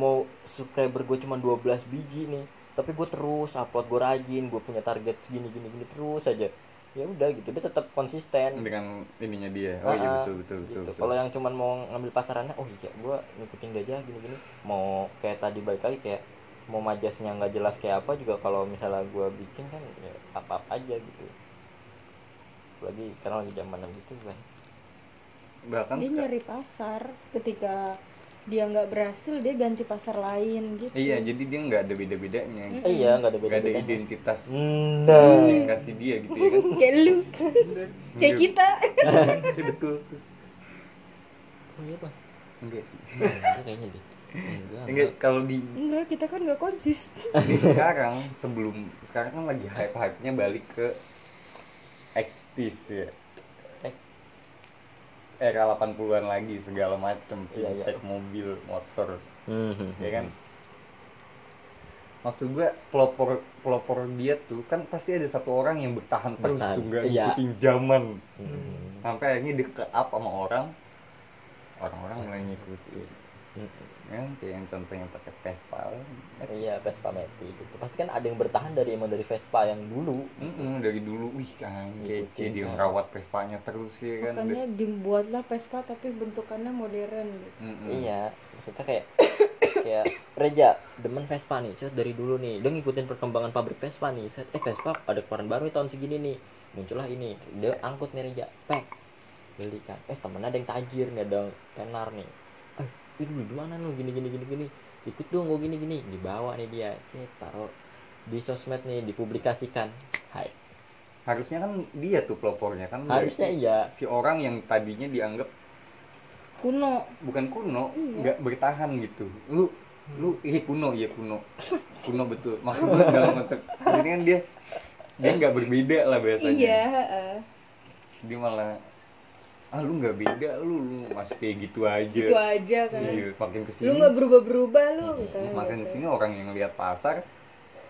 Speaker 2: Mau subscriber gue cuma 12 biji nih, tapi gue terus upload gue rajin, gue punya target segini gini gini terus aja. Ya udah gitu, dia tetap konsisten.
Speaker 3: dengan ininya dia oh iya
Speaker 2: Ah, ah,
Speaker 3: betul betul betul,
Speaker 2: gitu.
Speaker 3: betul.
Speaker 2: Kalau yang cuman mau ngambil pasarannya, oh iya, gue ngikutin dia aja gini-gini. Mau kayak tadi balik lagi kayak mau majasnya nggak jelas kayak apa juga kalau misalnya gue bikin kan ya apa-apa aja gitu. Lagi sekarang lagi zaman yang gitu kan.
Speaker 3: bahkan
Speaker 4: Dia
Speaker 3: seka-
Speaker 4: nyari pasar ketika dia nggak berhasil dia ganti pasar lain gitu.
Speaker 3: Iya, jadi dia nggak ada beda-bedanya.
Speaker 4: Mm.
Speaker 3: Gitu.
Speaker 2: Eh, iya nggak ada
Speaker 3: Nggak
Speaker 2: beda
Speaker 3: ada
Speaker 2: beda.
Speaker 3: identitas
Speaker 2: Nah,
Speaker 3: yang kasih dia gitu ya kan.
Speaker 4: Kayak lu, kayak
Speaker 3: Iya,
Speaker 4: kita.
Speaker 2: kan.
Speaker 3: iya, Betul.
Speaker 2: oh, iya, Bang.
Speaker 3: Enggak sih.
Speaker 2: Iya, kayaknya deh. Enggak,
Speaker 3: Enggak, kalau di,
Speaker 4: Enggak, kita kan nggak konsis.
Speaker 3: di sekarang sebelum sekarang kan lagi hype-hype-nya balik ke aktis ya.
Speaker 2: Ek-
Speaker 3: Era 80-an lagi segala macem
Speaker 2: Iya, iya.
Speaker 3: fintech, mobil, motor,
Speaker 2: Mhm.
Speaker 3: ya kan? Maksud gue pelopor pelopor dia tuh kan pasti ada satu orang yang bertahan terus
Speaker 2: Bertahan,
Speaker 3: tuh nggak
Speaker 2: iya.
Speaker 3: ngikutin zaman.
Speaker 2: Mhm.
Speaker 3: sampai akhirnya di up sama orang orang-orang mulai ngikutin ya, kayak yang contohnya pakai Vespa
Speaker 2: iya Vespa Matic gitu pasti kan ada yang bertahan dari emang dari Vespa yang dulu
Speaker 3: Mm-mm, dari dulu wih kan
Speaker 2: Ngikutin,
Speaker 3: kece dia
Speaker 2: kan.
Speaker 3: ngerawat Vespanya terus ya kan
Speaker 4: makanya dibuatlah Vespa tapi bentukannya modern gitu
Speaker 3: Mm-mm.
Speaker 2: iya maksudnya kayak kayak Reja demen Vespa nih set dari dulu nih dia ngikutin perkembangan pabrik Vespa nih set eh Vespa ada keluaran baru nih tahun segini nih muncullah ini dia angkut nih Reja pek beli kan eh temennya ada yang tajir nih ada yang tenar nih eh ini dulu duluanan lu gini gini gini gini ikut dong gue gini gini dibawa nih dia cet taruh di sosmed nih dipublikasikan hai
Speaker 3: harusnya kan dia tuh pelopornya kan
Speaker 2: harusnya
Speaker 3: berarti
Speaker 2: iya
Speaker 3: si orang yang tadinya dianggap
Speaker 4: kuno
Speaker 3: bukan kuno
Speaker 4: Iya.
Speaker 3: nggak bertahan gitu lu
Speaker 2: Hmm.
Speaker 3: lu ih kuno ya kuno kuno betul maksud gue dalam konteks ini kan dia dia nggak berbeda lah biasanya
Speaker 4: iya heeh.
Speaker 3: dia malah ah lu nggak beda lu lu masih kayak gitu aja
Speaker 4: gitu aja kan
Speaker 3: iya makin kesini
Speaker 4: lu nggak berubah-berubah lu
Speaker 2: Hmm,
Speaker 4: misalnya
Speaker 3: makin
Speaker 4: gitu.
Speaker 3: kesini orang yang lihat pasar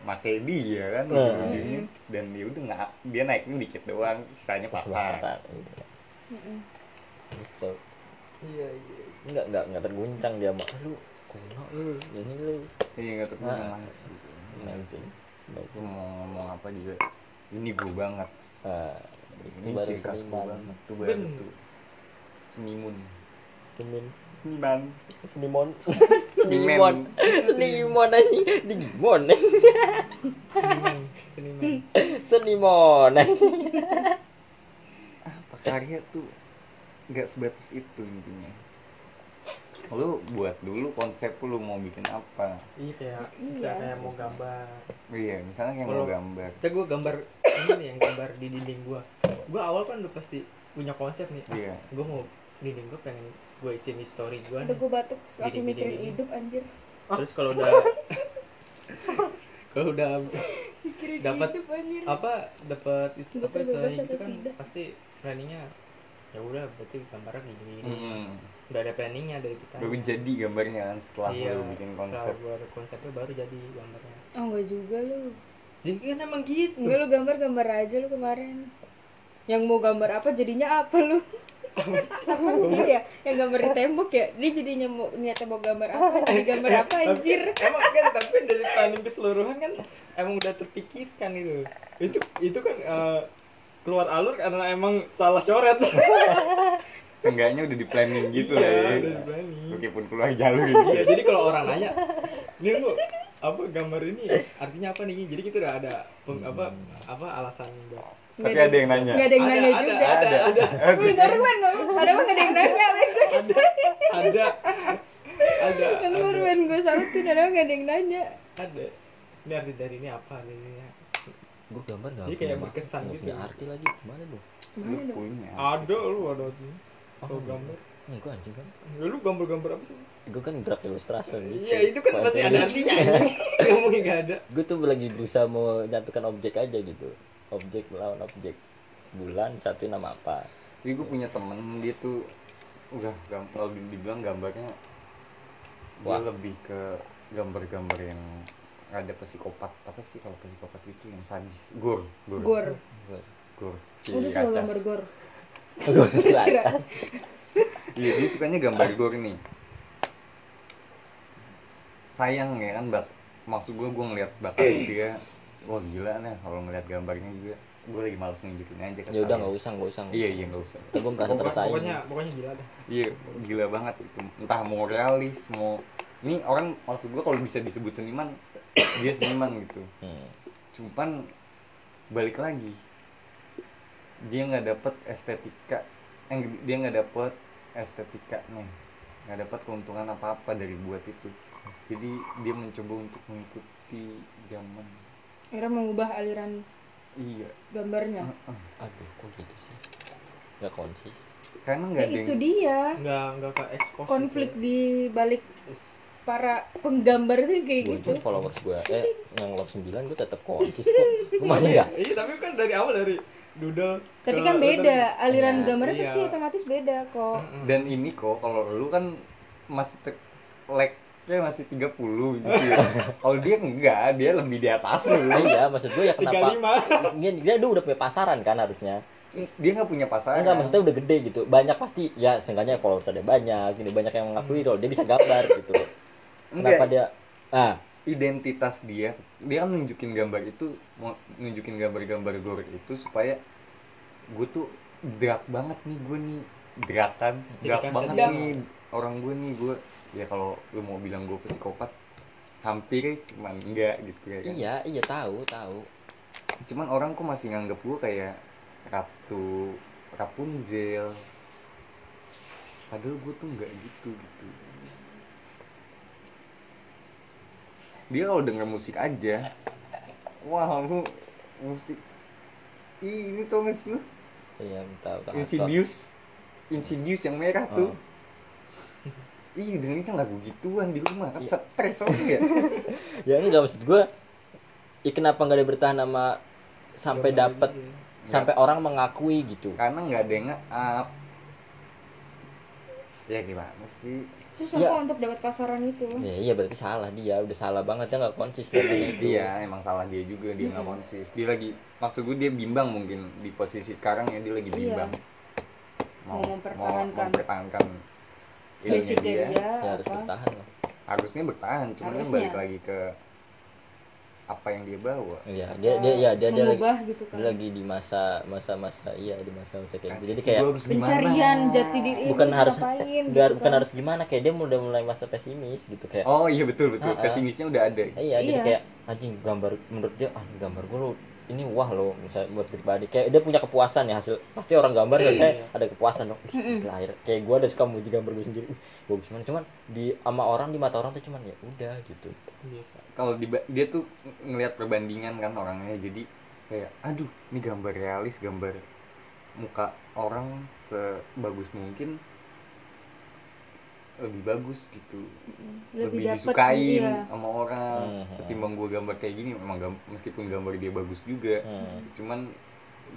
Speaker 3: makai dia kan
Speaker 2: Nah.
Speaker 3: ujung-ujungnya. dan dia udah nggak dia naiknya dikit doang sisanya pasar
Speaker 2: Pasaran, iya.
Speaker 4: Mm-mm.
Speaker 2: gitu iya iya nggak nggak nggak terguncang dia mah lu kuno lu ini lu
Speaker 3: iya nggak tahu
Speaker 2: Nah.
Speaker 3: masih
Speaker 2: amazing Bagus.
Speaker 3: Gua mau ngomong apa juga ini gue banget
Speaker 2: Ah, itu
Speaker 3: Ini
Speaker 2: baru
Speaker 3: ciri khas gue
Speaker 2: seniman
Speaker 3: banget tuh baru
Speaker 1: Bener.
Speaker 3: tuh Senimun
Speaker 2: seniman
Speaker 3: Seniman
Speaker 2: senimon
Speaker 3: Seniman.
Speaker 2: senimon senimon anjing digimon eh.
Speaker 1: Seniman, seniman.
Speaker 2: senimon anjing.
Speaker 3: Karya tuh nggak sebatas itu intinya Lu buat dulu konsep lu mau bikin apa
Speaker 1: Iya kayak,
Speaker 4: Iya.
Speaker 1: misalnya kayak mau gambar.
Speaker 3: Iya misalnya kayak mau
Speaker 1: Kalau-
Speaker 3: gambar
Speaker 1: Kita gue gambar ini nih yang gambar di dinding gue. Gue awal kan udah pasti punya konsep nih. Ah,
Speaker 3: Iya
Speaker 1: gue mau dinding gue pengen gue isiin di story gue.
Speaker 4: Udah gue batuk langsung
Speaker 1: Gini,
Speaker 4: mikirin
Speaker 1: gini, gini.
Speaker 4: hidup anjir.
Speaker 1: Terus kalau udah kalau udah
Speaker 4: Mikirin
Speaker 1: Dapat
Speaker 4: hidup anjir.
Speaker 1: apa dapat
Speaker 4: Betul,
Speaker 1: apa
Speaker 4: bebas
Speaker 1: istilahnya
Speaker 4: atau
Speaker 1: itu kan
Speaker 4: tidak.
Speaker 1: pasti planningnya ya udah berarti gambarnya gini gini
Speaker 3: Mm-mm.
Speaker 1: udah ada planningnya dari kita
Speaker 3: Hmm. Baru jadi gambarnya kan setelah lu bikin konsep
Speaker 1: Iya, setelah gua ada konsepnya baru jadi gambarnya
Speaker 4: Oh enggak juga lu.
Speaker 1: jadi kan emang gitu
Speaker 4: Enggak lu gambar-gambar aja lu kemarin. Yang mau gambar apa jadinya apa lu? apa
Speaker 3: Oh.
Speaker 4: dia ya? Yang gambar di tembok ya? Dia jadinya mau niatnya mau gambar apa? Jadi gambar
Speaker 3: Iya,
Speaker 4: apa anjir?
Speaker 1: emang kan tapi dari planning keseluruhan kan emang udah terpikirkan itu itu itu kan eh, keluar alur karena emang salah coret
Speaker 3: Seenggaknya udah di planning gitu
Speaker 1: Iya,
Speaker 3: lah
Speaker 1: udah
Speaker 3: ya
Speaker 1: di planning.
Speaker 3: Meskipun keluar jalur
Speaker 1: Iya,
Speaker 3: gitu
Speaker 1: jadi kalau orang nanya, ini lu apa gambar ini artinya apa nih? Jadi kita udah ada peng- apa apa alasan buat
Speaker 3: Tapi ada yang nanya
Speaker 4: Enggak ada yang
Speaker 1: Ada,
Speaker 4: nanya
Speaker 1: ada,
Speaker 4: juga.
Speaker 1: ada, ada.
Speaker 4: Wih, baru kan ngomong, ada mah nggak ada yang nanya, men.
Speaker 1: ada ada ada
Speaker 4: Kan baru
Speaker 1: ada,
Speaker 4: men gue sautin, ada mah nggak ada yang nanya.
Speaker 1: ada. Ini arti dari ini apa nih? ini ya.
Speaker 2: gue gambar nggak
Speaker 1: Dia
Speaker 2: punya
Speaker 1: kayak
Speaker 2: makna,
Speaker 1: berkesan
Speaker 2: nggak
Speaker 1: gitu.
Speaker 2: punya arti lagi gimana dong
Speaker 3: Lu
Speaker 4: Mana dong?
Speaker 3: punya
Speaker 1: Ada iya. lu ada tuh. Kalau
Speaker 2: Oh,
Speaker 1: gambar,
Speaker 2: enggak anjing kan
Speaker 1: ya, lu gambar-gambar apa sih?
Speaker 2: gue kan draft illustration gitu.
Speaker 1: Iya itu kan pasti ada artinya anjing. Ngomongnya nggak ada.
Speaker 2: gue tuh lagi berusaha mau nyatukan objek aja gitu objek melawan objek bulan satu nama apa
Speaker 3: Jadi gue punya temen dia tuh udah gam- kalau di- dibilang gambarnya
Speaker 2: Wah.
Speaker 3: dia lebih ke gambar-gambar yang ada psikopat apa sih kalau psikopat itu yang sadis gor gor
Speaker 4: Gor.
Speaker 3: gor
Speaker 4: Udah
Speaker 3: ciri
Speaker 4: suka
Speaker 3: kacas.
Speaker 4: gambar gor.
Speaker 2: Gua-
Speaker 3: iya dia sukanya gambar gor nih sayang ya kan bak maksud gue gue ngeliat bakat dia wah gila nih kalau ngeliat gambarnya juga gue lagi males nunjukin aja ke
Speaker 2: ya udah
Speaker 3: kalian.
Speaker 2: nggak usah nggak usah nggak
Speaker 3: iya
Speaker 2: usah.
Speaker 3: iya nggak usah
Speaker 2: gue merasa
Speaker 1: Pokoknya,
Speaker 2: tersaing
Speaker 1: pokoknya pokoknya gila dah.
Speaker 3: Iya, gila banget itu. Entah mau realis, mau ini orang maksud gua kalau bisa disebut seniman, dia seniman gitu.
Speaker 2: Hmm.
Speaker 3: Cuman balik lagi, dia nggak dapet estetika, eh, dia nggak dapet estetika nih, nggak dapet keuntungan apa apa dari buat itu. Jadi dia mencoba untuk mengikuti zaman.
Speaker 4: Akhirnya mengubah aliran
Speaker 3: Iya,
Speaker 4: gambarnya.
Speaker 2: aduh kok gitu sih nggak konsis
Speaker 3: karena
Speaker 4: Ya
Speaker 3: nggak ada yang
Speaker 4: itu
Speaker 3: Oh, gitu.
Speaker 4: dia
Speaker 1: Enggak enggak ke expose. gitu.
Speaker 4: konflik di balik para penggambar itu kayak
Speaker 2: gue
Speaker 4: gitu.
Speaker 2: pun followers gue eh yang love 9 gue tetap konsis kok gue masih nggak
Speaker 1: Iya, tapi kan dari awal dari doodle.
Speaker 4: Tapi
Speaker 1: ke-
Speaker 4: kan beda, aliran
Speaker 2: Iya,
Speaker 4: gambarnya
Speaker 1: iya.
Speaker 4: pasti otomatis beda kok.
Speaker 3: Dan ini kok kalau lu kan masih te- lag-nya masih 30 gitu ya. kalau dia enggak, dia lebih di atas lu.
Speaker 2: iya maksud gue ya
Speaker 1: Tiga
Speaker 2: kenapa Iya,
Speaker 1: lima.
Speaker 2: dia, dia udah punya pasaran kan harusnya
Speaker 3: dia nggak punya pasangan
Speaker 2: Enggak, maksudnya udah gede gitu. Banyak pasti, ya seenggaknya followers ada banyak, ini banyak yang mengakui kalau dia bisa gambar gitu.
Speaker 3: Enggak,
Speaker 2: Kenapa dia ah,
Speaker 3: identitas dia dia kan nunjukin gambar itu mau nunjukin gambar-gambar gore itu supaya gue tuh drag banget nih gue nih drakan
Speaker 1: Jadi
Speaker 3: drag
Speaker 1: kasar.
Speaker 3: banget
Speaker 4: Drag.
Speaker 3: nih orang gue nih gue ya kalau lu mau bilang gue psikopat hampir cuman enggak gitu ya kan
Speaker 2: iya, iya tahu, tahu.
Speaker 3: cuman orang kok masih nganggap gue kayak Ratu Rapunzel padahal gue tuh nggak gitu gitu dia kalau denger musik aja wah lu musik Ih, ini tuh nggak sih lu
Speaker 2: Iya, tahu, tahu.
Speaker 3: Insidious Insidious yang merah
Speaker 2: Oh.
Speaker 3: tuh Ih, dengerin lagu gituan di rumah kan
Speaker 2: Iya.
Speaker 3: stres orang ya
Speaker 2: Ya enggak maksud gua ya kenapa nggak dia bertahan sama sampai dapat
Speaker 1: Iya,
Speaker 2: sampai orang mengakui gitu.
Speaker 3: karena nggak ada yang nge-up ya gimana sih
Speaker 4: susah
Speaker 2: Iya.
Speaker 4: kok untuk dapat pasaran itu
Speaker 2: Ya, iya berarti salah dia, udah salah banget dia nggak konsisten dengan itu.
Speaker 3: Iya, emang salah dia juga dia nggak konsis. Dia lagi, maksud gue dia bimbang mungkin di posisi sekarang ya dia lagi
Speaker 4: Iya.
Speaker 3: bimbang.
Speaker 4: Mau mempertahankan.
Speaker 3: mau mempertahankan ininya
Speaker 4: basicnya dia,
Speaker 2: Ya iya, harus
Speaker 4: apa
Speaker 2: bertahan lah.
Speaker 3: Harusnya bertahan, cuman kan
Speaker 4: Harusnya.
Speaker 3: balik lagi ke apa yang dia bawa.
Speaker 2: Iya, dia dia ya dia dia lagi
Speaker 4: mengubah gitu kan
Speaker 2: dia lagi di masa masa-masa iya di masa-masa kayak gitu. Jadi
Speaker 3: Kan Gua
Speaker 2: kayak
Speaker 3: harus gimana?
Speaker 4: pencarian jati diri eh,
Speaker 2: Bukan
Speaker 4: terus
Speaker 2: harus-
Speaker 4: ngapain,
Speaker 2: nggak
Speaker 4: gitu
Speaker 2: bukan
Speaker 4: kan.
Speaker 2: harus gimana kayak dia udah mulai masa pesimis gitu kayak
Speaker 3: Oh iya betul betul,
Speaker 2: Ah, ah.
Speaker 3: pesimisnya udah ada.
Speaker 2: iya, jadi
Speaker 4: Iya.
Speaker 2: kayak anjing gambar menurut dia ah gambar gue lo ini wah lo misalnya buat pribadi kayak dia punya kepuasan ya hasil pasti orang gambar selesai
Speaker 3: Iya.
Speaker 2: ada kepuasan dong Ih, gila, akhirnya. kayak gue ada suka muji gambar gue sendiri Ih, bagus banget cuman di sama orang di mata orang tuh cuman ya udah gitu
Speaker 1: biasa
Speaker 3: Kalau di, dia tuh ng- ngelihat perbandingan kan orangnya, jadi kayak aduh ini gambar realis, gambar muka orang sebagus mungkin lebih bagus gitu.
Speaker 4: Mm,
Speaker 3: lebih,
Speaker 4: dapet,
Speaker 3: disukain
Speaker 4: iya.
Speaker 3: sama orang
Speaker 2: Mhm.
Speaker 3: ketimbang gue gambar kayak gini memang gam- meskipun gambar dia bagus juga
Speaker 2: hmm.
Speaker 3: cuman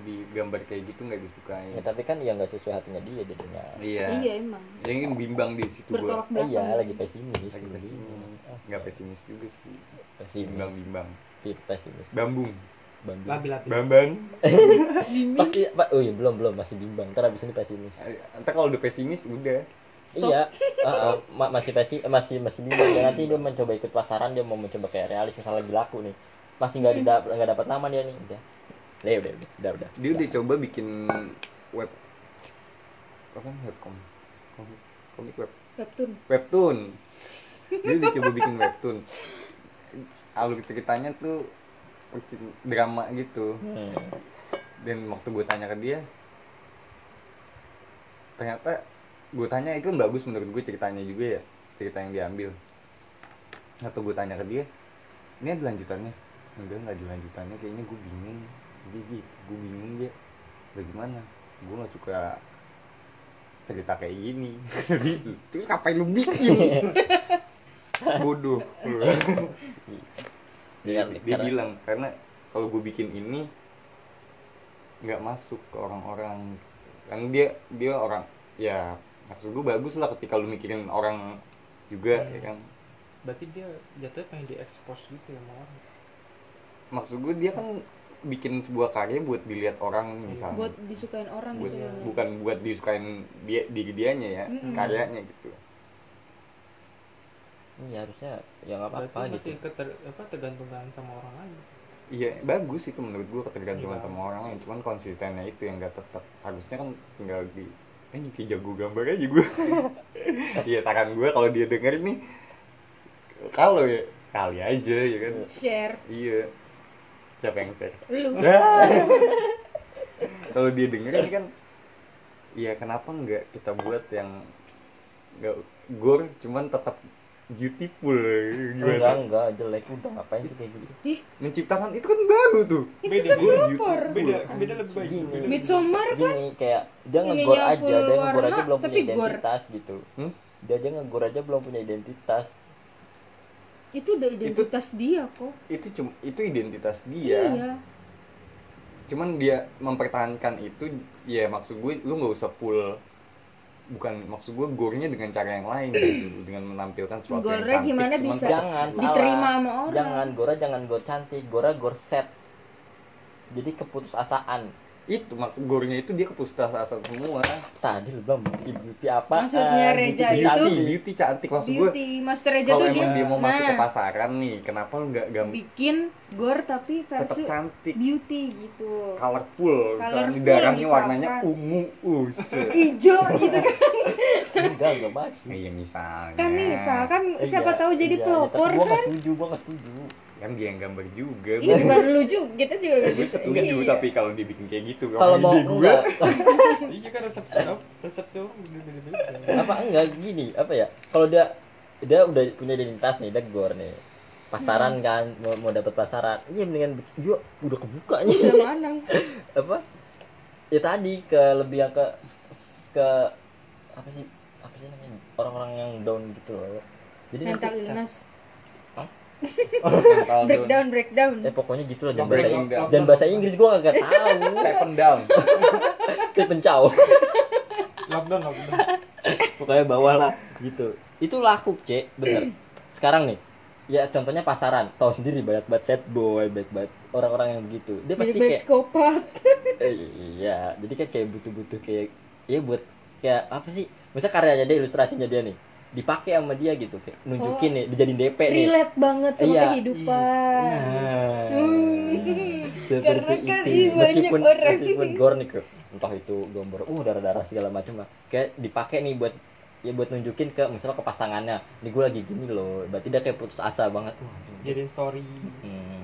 Speaker 3: di gambar kayak gitu nggak disukain
Speaker 2: ya, tapi kan ya nggak sesuai hatinya dia jadinya
Speaker 3: iya
Speaker 4: iya emang
Speaker 3: jadi kan bimbang di situ gue
Speaker 4: bertolak
Speaker 2: Oh
Speaker 4: belakang
Speaker 2: iya lagi pesimis
Speaker 3: lagi pesimis
Speaker 2: Ah,
Speaker 3: nggak pesimis juga sih bimbang
Speaker 2: pesimis
Speaker 3: bimbang
Speaker 2: Pi- pesimis
Speaker 3: bambung
Speaker 2: Bambi.
Speaker 1: labil labil
Speaker 3: bambang
Speaker 2: pasti pak oh iya belum belum masih bimbang ntar abis ini pesimis
Speaker 3: Eh, ntar kalau udah pesimis udah
Speaker 4: Stop.
Speaker 2: Iya, uh, uh, ma- masih pasti masih masih bingung. Ya, nanti dia mencoba ikut pasaran, dia mau mencoba kayak realis misalnya lagi laku nih. Masih nggak didap nggak dapat nama dia nih. Udah. Udah, udah, udah, udah, udah.
Speaker 3: dia udah coba bikin web apa webcom komik komik web
Speaker 4: webtoon
Speaker 3: webtoon dia udah coba bikin webtoon alur ceritanya tuh percin- drama gitu
Speaker 2: Hmm.
Speaker 3: dan waktu gue tanya ke dia ternyata gue tanya itu kan bagus menurut gue ceritanya juga ya cerita yang diambil atau gue tanya ke dia ini ada lanjutannya enggak nggak ada lanjutannya kayaknya gue bingung jadi gitu gue bingung dia bagaimana gue nggak suka cerita kayak gini gitu terus ngapain lu bikin bodoh
Speaker 2: Dia, kan
Speaker 3: dia, dia bilang karena kalau gue bikin ini nggak masuk ke orang-orang kan dia dia orang ya maksud gue bagus lah ketika lu mikirin orang juga
Speaker 1: Hmm.
Speaker 3: ya kan
Speaker 1: berarti dia jatuhnya pengen diekspos gitu ya sama orang
Speaker 3: maksud gue dia kan bikin sebuah karya buat dilihat orang misalnya
Speaker 4: buat
Speaker 2: Iya.
Speaker 4: disukain orang
Speaker 3: Buat-
Speaker 4: gitu Hmm. loh
Speaker 3: bukan buat disukain dia diri dianya ya
Speaker 4: Mm-mm.
Speaker 3: karyanya gitu
Speaker 2: Iya harusnya ya nggak apa-apa
Speaker 1: berarti
Speaker 2: gitu.
Speaker 1: masih keter, apa tergantungan sama orang lain
Speaker 3: iya bagus itu menurut gue ketergantungan
Speaker 1: Iya.
Speaker 3: sama orang yang cuman konsistennya itu yang gak tetap harusnya kan tinggal di eh kayak jago gambar aja gue iya saran gue kalau dia denger nih kalau ya kali aja ya kan
Speaker 4: share
Speaker 3: iya siapa yang share
Speaker 4: lu
Speaker 3: Eh, kalau dia denger ini kan ya kenapa nggak kita buat yang nggak gor cuman tetap beautiful ya kan?
Speaker 1: Iya
Speaker 2: Enggak,
Speaker 1: kan?
Speaker 3: gimana
Speaker 2: enggak jelek udah ngapain sih kayak gitu.
Speaker 3: menciptakan itu kan baru tuh
Speaker 1: beda
Speaker 3: Gor
Speaker 1: beda
Speaker 3: beautiful
Speaker 1: beda beda lebih baik
Speaker 2: Gini.
Speaker 1: Beda lebih
Speaker 4: Midsommar kan
Speaker 2: Gini kayak dia
Speaker 4: Ininya
Speaker 2: ngegor aja,
Speaker 4: full
Speaker 2: dia ngegor aja
Speaker 4: warna,
Speaker 2: belum punya
Speaker 4: tapi gor.
Speaker 2: identitas gitu.
Speaker 3: Hmm?
Speaker 2: Dia aja ngegor aja belum punya identitas.
Speaker 4: itu udah identitas dia kok
Speaker 3: itu cuma itu identitas dia
Speaker 4: iya
Speaker 3: cuman dia mempertahankan itu ya maksud gue lu nggak usah full bukan maksud gue gornya dengan cara yang lain gitu dengan menampilkan sesuatu yang
Speaker 4: Gornya
Speaker 3: cantik
Speaker 4: gimana
Speaker 3: cuman
Speaker 4: bisa
Speaker 3: tetap-
Speaker 2: Jangan salah.
Speaker 4: diterima sama orang
Speaker 2: Jangan gora jangan gor cantik, gora gor set. Jadi keputusasaan.
Speaker 3: itu maksud gornya itu dia ke puskesmas semua
Speaker 2: Tadi lu bilang beauty beauty apa? Ah,
Speaker 4: Maksudnya Reja
Speaker 3: beauty,
Speaker 4: itu
Speaker 3: beauty cantik maksud gue
Speaker 4: beauty master Reja
Speaker 3: kalau
Speaker 4: tuh
Speaker 3: emang
Speaker 4: dia
Speaker 3: dia mau masuk ke
Speaker 4: Nah.
Speaker 3: pasaran nih kenapa lu nggak gampang
Speaker 4: bikin gore tapi
Speaker 3: tetap
Speaker 4: versi
Speaker 3: cantik
Speaker 4: beauty
Speaker 2: Oh.
Speaker 4: gitu
Speaker 3: colorful,
Speaker 4: Colorful
Speaker 3: misalnya darahnya
Speaker 4: misalkan.
Speaker 3: warnanya ungu usus
Speaker 4: ijo gitu kan
Speaker 2: Enggak, enggak masih.
Speaker 3: iya misalnya
Speaker 4: kan misal kan
Speaker 2: Iya,
Speaker 4: siapa tahu jadi
Speaker 2: iya, iya,
Speaker 4: pelopor
Speaker 2: tapi gua
Speaker 4: kan
Speaker 2: nggak setuju, gua nggak setuju.
Speaker 3: kan dia yang gambar juga
Speaker 4: iya
Speaker 3: Bang.
Speaker 4: bukan lu juga kita juga gak
Speaker 3: gue
Speaker 4: bisa
Speaker 3: setuju
Speaker 4: Iya.
Speaker 3: tapi kalau dibikin kayak gitu
Speaker 2: Kalau mau enggak,
Speaker 1: Ini juga resep sirup, resep sirup beda-beda.
Speaker 2: apa enggak gini, apa ya? Kalau dia dia udah punya identitas nih, dia gor nih. Pasaran
Speaker 4: Hmm.
Speaker 2: kan, mau, mau dapat pasaran. Iya mendingan bikin- iya udah kebuka nih.
Speaker 4: udah mana
Speaker 2: apa? Ya tadi ke lebih yang ke ke apa sih? Apa sih namanya? Orang-orang yang down gitu loh. Jadi
Speaker 4: mental
Speaker 2: nanti-
Speaker 4: illness
Speaker 3: mental down
Speaker 4: breakdown breakdown
Speaker 2: Eh pokoknya gitu loh jangan bahasa
Speaker 3: breaking down
Speaker 2: Dan bahasa Inggris gua kagak tahu.
Speaker 3: Stephen down
Speaker 2: Kayak pencau.
Speaker 1: Lockdown, lockdown.
Speaker 2: pokoknya bawah lah gitu itu laku cek bener sekarang nih ya contohnya pasaran tahu sendiri banyak banget set boy banyak banget orang-orang yang begitu dia pasti
Speaker 4: banyak
Speaker 2: kayak
Speaker 4: psikopat
Speaker 2: eh, iya jadi kan kayak butuh-butuh kayak ya buat kayak apa sih misal karyanya dia ilustrasinya dia nih dipakai sama dia gitu kayak nunjukin nih dijadiin DP nih
Speaker 4: Oh, relate banget sama
Speaker 2: Iya.
Speaker 4: kehidupan
Speaker 2: Nah,
Speaker 4: Hmm.
Speaker 2: seperti
Speaker 4: Karena kan
Speaker 2: itu.
Speaker 4: ih, banyak
Speaker 2: meskipun
Speaker 4: orang.
Speaker 2: meskipun gor nih ke- entah itu gambar uh darah-darah segala macam lah. Kayak dipakai nih buat ya buat nunjukin ke misalnya ke pasangannya. Nih gue lagi gini loh. Berarti dia kayak putus asa banget. Wah,
Speaker 1: Jadi story.
Speaker 2: hmm.